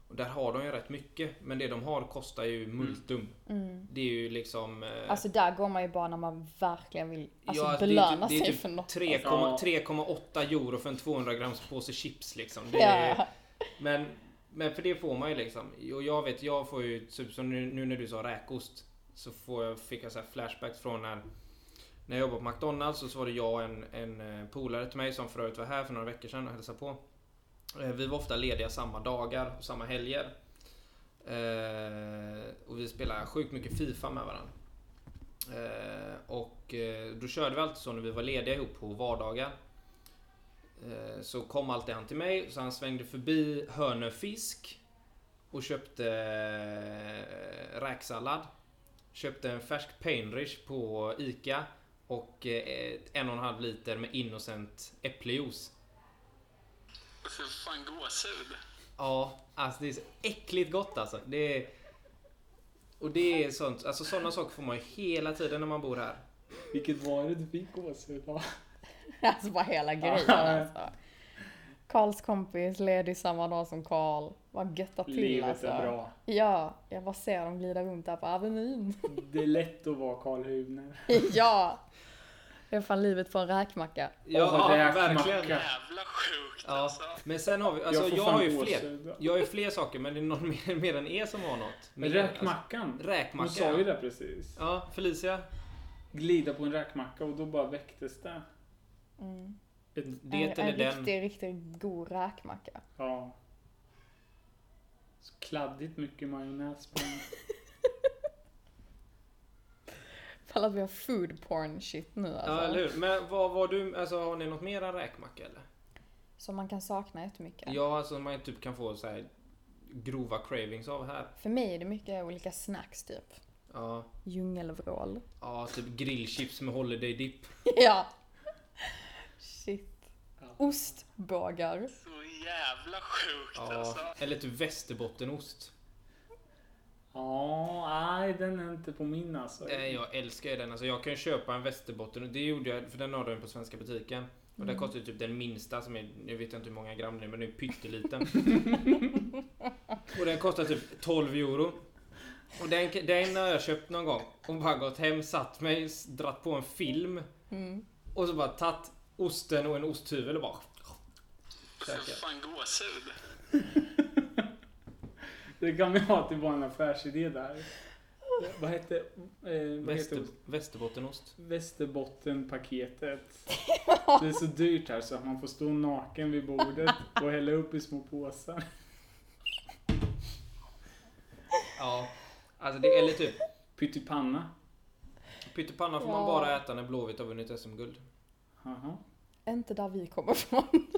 Och där har de ju rätt mycket men det de har kostar ju multum. Mm. Det är ju liksom... eh, Alltså där går man ju bara när man verkligen vill alltså, Ja, alltså, det är belöna typ- det är sig typ för något. 3,8 Alltså. 3,8 euro för en 200 grams påse chips liksom. Det är, Ja. men, men för det får man ju liksom. Och jag vet, jag får ju typ som nu, nu när du sa räkost. Så får jag, fick jag så här flashbacks från när, när jag jobbade på McDonalds. Och så var det jag och en, en eh, polare till mig som för övrigt var här för några veckor sedan och hälsade på. Eh, Vi var ofta lediga samma dagar och samma helger. Eh, och vi spelade sjukt mycket FIFA med varandra. och eh, då körde vi alltid så när vi var lediga ihop på vardagar. Eh, så kom alltid han till mig, så han svängde förbi Hönö Fisk och köpte eh, räksallad. Köpte en färsk Painrich på ICA och eh, ett- en och en halv liter med Innocent äpplejuice. Jag får fan gåshud. Ja, alltså det är så äckligt gott alltså. Det är... Och det är sånt, alltså sådana saker får man ju hela tiden när man bor här. Vilket var det du fick gåshud av? Alltså bara hela grejen alltså. Karls kompis ledig samma dag som Karl. Vad götta till Livet alltså. är bra. Ja, jag bara ser dem glida runt där på Avenyn. Det är lätt att vara Karl Hubner. ja! Det är fan livet på en räkmacka. Åh, Ja, verkligen. räkmacka. Jävla sjukt Ja, alltså. men sen har vi, alltså Jag får jag, fan har ju gåshud. fler. Jag har ju fler saker, men det är någon mer, mer än er som har något. Men Mer, räkmackan. Alltså, räkmacka. Hon sa ju det precis. Ja, Felicia. Glida på en räkmacka och då bara väcktes det. Mm. Ett, Det en, eller en den. riktig, riktigt god räkmacka. ja. Så kladdigt mycket majonnäs på den. Fall att vi har food porn shit nu alltså. Ja, eller hur? Men vad var du, alltså har ni något mer än räkmacka eller? Som man kan sakna jättemycket. Ja, alltså man typ kan få så här grova cravings av här. För mig är det mycket olika snacks typ. Ja, Djungelvrål. ja typ grillchips med holiday dip. ja! Shit. Ja. Ostbågar. Så jävla sjukt Ja, alltså. eller typ västerbottenost. Ja, nej den är inte på min alltså. Nej, Eh, jag älskar ju den. Alltså, jag kan ju köpa en västerbotten och det gjorde jag för den har den på svenska butiken. Och Mm. den kostar ju typ den minsta som är, jag vet inte hur många gram det är, men den är pytteliten. och den kostar typ 12 euro. Och den, den har jag köpt någon gång och bara gått hem, satt mig, s- dratt på en film Mm. och så bara tagit osten och en osthyvel och bara... Jag får Käkat. fan gåshud. Det kan vi ha till vår affärsidé där. Vad hette... Eh, vad Väster, heter ost? västerbottenost. Västerbottenpaketet. Det är så dyrt här så att man får stå naken vid bordet och hälla upp i små påsar. Ja. Alltså det, eller typ Pyttipanna. pyttipanna får man Ja. bara äta när Blåvitt har vunnit SM-guld. Jaha. Inte där vi kommer från.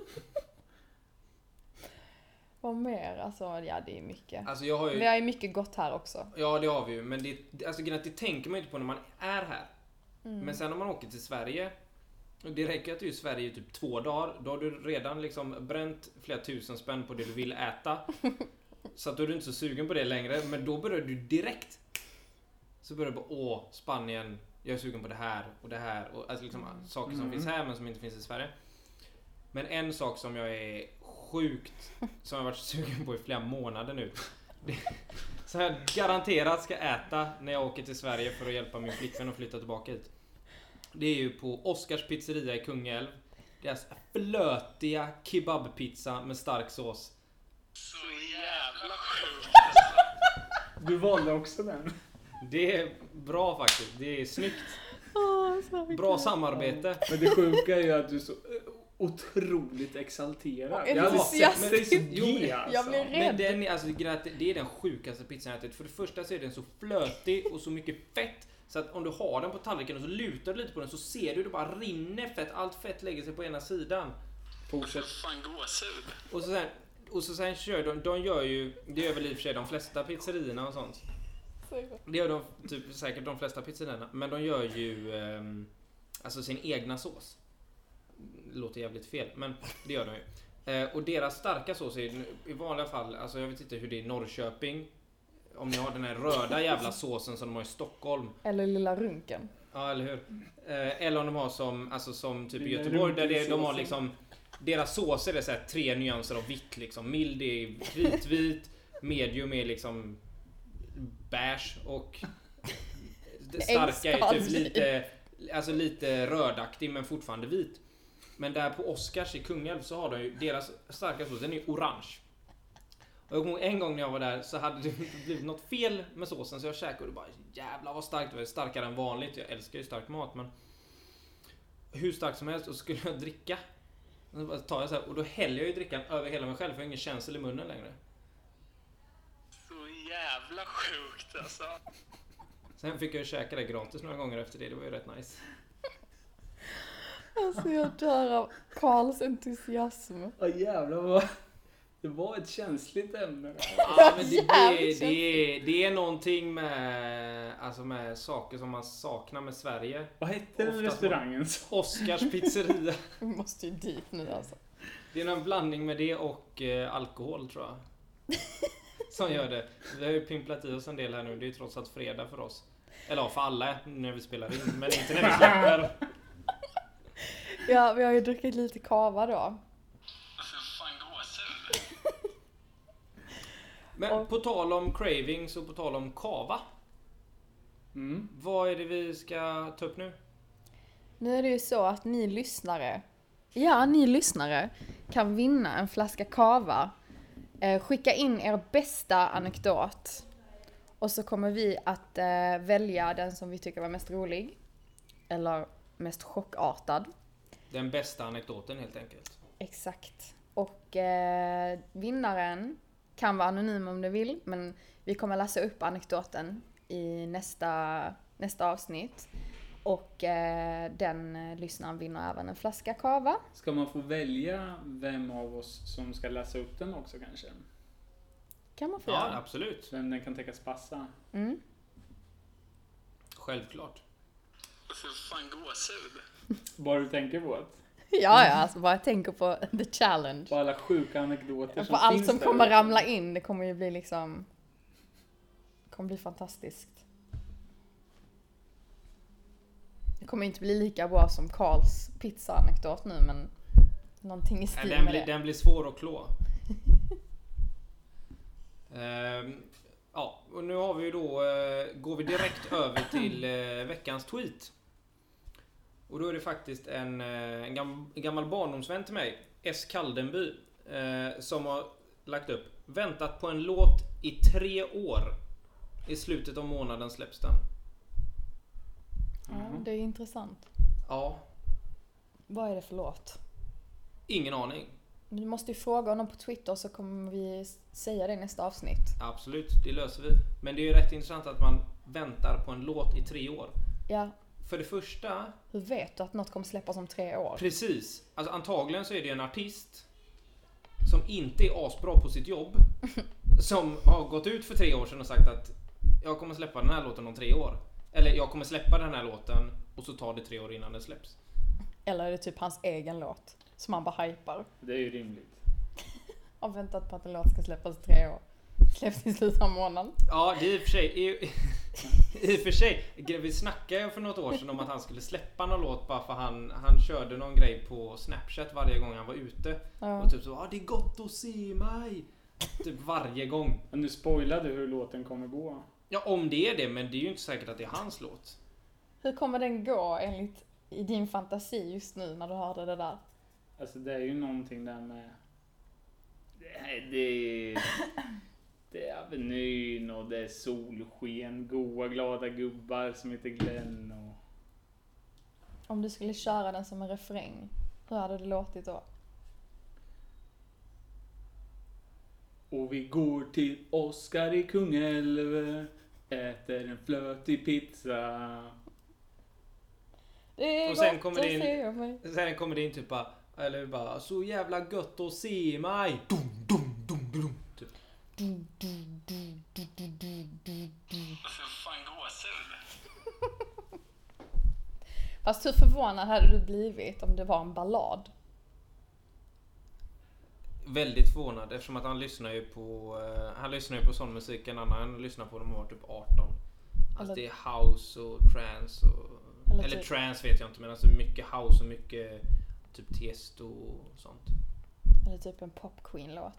Vad mer? Alltså, ja det är mycket. Alltså jag har ju... Vi har ju mycket gott här också. Ja, det har vi ju. Men det, alltså, grejen är att det tänker man ju inte på när man är här. Men sen om man åker till Sverige. och Det räcker att du är i Sverige i typ två dagar. Då har du redan liksom bränt flera tusen spänn på det du vill äta. Så att då är du inte så sugen på det längre. Men då börjar du direkt. Så börjar du bara åh, Spanien. Jag är sugen på det här och det här. Och, alltså liksom saker som Mm. finns här men som inte finns i Sverige. Men en sak som jag är sjukt, som jag har varit sugen på i flera månader nu. Det, som jag garanterat ska äta när jag åker till Sverige för att hjälpa min flickvän att flytta tillbaka hit. Det är ju på Oscars pizzeria i Kungälv. Deras flötiga kebabpizza med stark sås. Så jävla sjukt. Du valde också den. Det är bra faktiskt. Det är snyggt. Åh, så mycket. Bra samarbete. Men det sjuka är ju att du är så eh, otroligt exalterad. Och Jag hade sett dig entusiastisk. så Jo, men- G Jag alltså. blir Men rädd. den är, alltså, grejen är att det är den sjukaste pizzan jag ätit. För det första så är den så flötig och så mycket fett. Så att om du har den på tallriken och så lutar du lite på den så ser du det bara rinner fett. Allt fett lägger sig på ena sidan. Fortsätt. Jag får fan gåshud. Och så sen, och så sen kör de, de gör ju, det gör väl i och för sig de flesta pizzerierna och sånt. Det gör de typ, säkert de flesta pizzerierna. Men de gör ju ehm, alltså sin egna sås. Låter jävligt fel, men det gör de ju. Eh, och deras starka sås är ju i vanliga fall, alltså jag vet inte hur det är i Norrköping. Om ni har den här röda jävla såsen som de har i Stockholm. Eller lilla runken. Ja, eller hur? Eh, eller om de har som, alltså, som typ i Det är Göteborg där det, de har runkinsåsen. liksom Deras såser är så här tre nyanser av vitt liksom. Mild är kritvit, medium är liksom beige och det starka är typ Äggskal. lite, alltså lite rödaktig men fortfarande vit. Men där på Oscars i Kungälv så har de ju deras starka sås, den är ju orange. Och jag kommer ihåg en gång när jag var där så hade det blivit något fel med såsen så jag käkade och det bara jävlar vad starkt det var. Starkare än vanligt. Jag älskar ju stark mat men hur stark som helst och så skulle jag dricka. Och så bara tar jag så här, och då häller jag ju drickan över hela mig själv för jag har ingen känsel i munnen längre. Så jävla sjukt alltså. Sen fick jag ju käka det gratis några gånger efter det. Det var ju rätt nice. Alltså jag dör av Karls entusiasm. Ja jävlar vad... Det var ett känsligt ämne. Ja, men det, det, Jävligt det, det är någonting med, alltså med saker som man saknar med Sverige. Vad hette den Oftast restaurangen? Oscars pizzeria. Vi måste ju dit nu alltså. Det är någon blandning med det och eh, alkohol tror jag. Som gör det. Vi har ju pimplat i oss en del här nu. Det är ju trots allt fredag för oss. Eller ja, för alla när vi spelar in. Men inte när vi släpper. Ja, vi har ju druckit lite kava då. Jag får fan gåshud. Men på tal om cravings och på tal om kava. Mm. Vad är det vi ska ta upp nu? Nu är det ju så att ni lyssnare, ja ni lyssnare, kan vinna en flaska kava. Eh, skicka in er bästa anekdot. Och så kommer vi att eh, välja den som vi tycker var mest rolig. Eller mest chockartad. Den bästa anekdoten helt enkelt. Exakt. Och eh, vinnaren kan vara anonym om du vill, men vi kommer läsa upp anekdoten i nästa, nästa avsnitt. Och eh, den eh, lyssnaren vinner även en flaska kava. Ska man få välja vem av oss som ska läsa upp den också kanske? Kan man få Ja, göra. absolut. Vem den kan tänkas passa? Mm. Självklart. Jag får fan gåshud. Bara du tänker på det. Ja, ja, alltså bara jag tänker på the challenge. På alla sjuka anekdoter som På allt finns som där kommer ute. ramla in, det kommer ju bli liksom... Det kommer bli fantastiskt. Det kommer inte bli lika bra som Karls pizza-anekdot nu, men någonting i Nej, stil den, med blir, det. den blir svår att klå. Ehm, ja, och nu har vi ju då, eh, går vi direkt över till eh, veckans tweet. Och då är det faktiskt en, eh, en, gam, en gammal barndomsvän till mig, S. Kaldenby, eh, som har lagt upp Väntat på en låt i tre år. I slutet av månaden släpps den. Mm. Ja, det är intressant. Ja, Vad är det för låt? ingen aning. Du måste ju fråga honom på Twitter så kommer vi s- säga det i nästa avsnitt. Absolut, det löser vi. Men det är ju rätt intressant att man väntar på en låt i tre år. Ja, För det första, hur vet du att något kommer släppas om tre år? precis. Alltså antagligen så är det en artist som inte är asbra på sitt jobb. Som har gått ut för tre år sedan och sagt att jag kommer släppa den här låten om tre år. Eller jag kommer släppa den här låten och så tar det tre år innan den släpps. Eller är det typ hans egen låt som han bara hypar? Det är ju rimligt. Har väntat på att en låt ska släppas i tre år. Släpps i slutet av månaden. Ja, det är i och för sig... I, i och för sig. Vi snackade ju för något år sedan om att han skulle släppa någon låt bara för han, han körde någon grej på Snapchat varje gång han var ute. Ja. Och typ så ah, det är gott att se mig. Typ varje gång. Men du spoilade hur låten kommer gå. Ja, om det är det, men det är ju inte säkert att det är hans låt. Hur kommer den gå enligt i din fantasi just nu när du hörde det där? Alltså det är ju någonting där med... Det, det, det är Avenyn och det är solsken, goa glada gubbar som heter Glenn och... Om du skulle köra den som en refräng, hur hade det låtit då? Och vi går till Oscar i Kungälv, äter en flötig pizza. Det är Och sen gott kommer det att in- se mig. Sen kommer det in typ bara, eller bara, så jävla gött att se mig. Dum, dum, dum, dum, typ. Jag får fan gåshud. Fast hur förvånad hade du blivit om det var en ballad? Väldigt förvånad eftersom att han lyssnar ju på, eh, han lyssnar ju på sån musik en annan lyssnar på när man var typ 18. Alltså Eller- det är house och trance och, eller, Eller typ- trance vet jag inte men alltså mycket house och mycket typ Tiesto och sånt. Eller typ en pop queen-låt.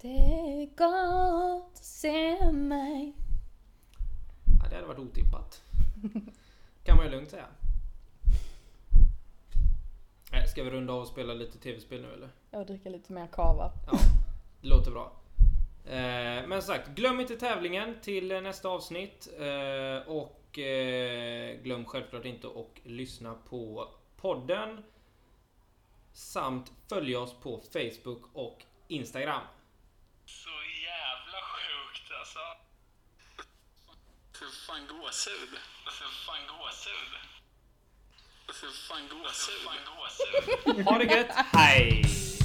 Det är gott att se mig. Ja, det hade varit otippat. kan man ju lugnt säga. Nej, Ska vi runda av och spela lite tv-spel nu eller? Jag dricker lite mer kava. Ja, det låter bra. Eh, Men som sagt, glöm inte tävlingen till eh, nästa avsnitt. Eh, Och eh, glöm självklart inte att lyssna på podden. Samt följa oss på Facebook och Instagram. Så jävla sjukt alltså. Jag ser fan gåshud. Jag ser fan gåshud. Jag ser fan gåshud. Jag ser fan gåshud. Ha det gött, hej!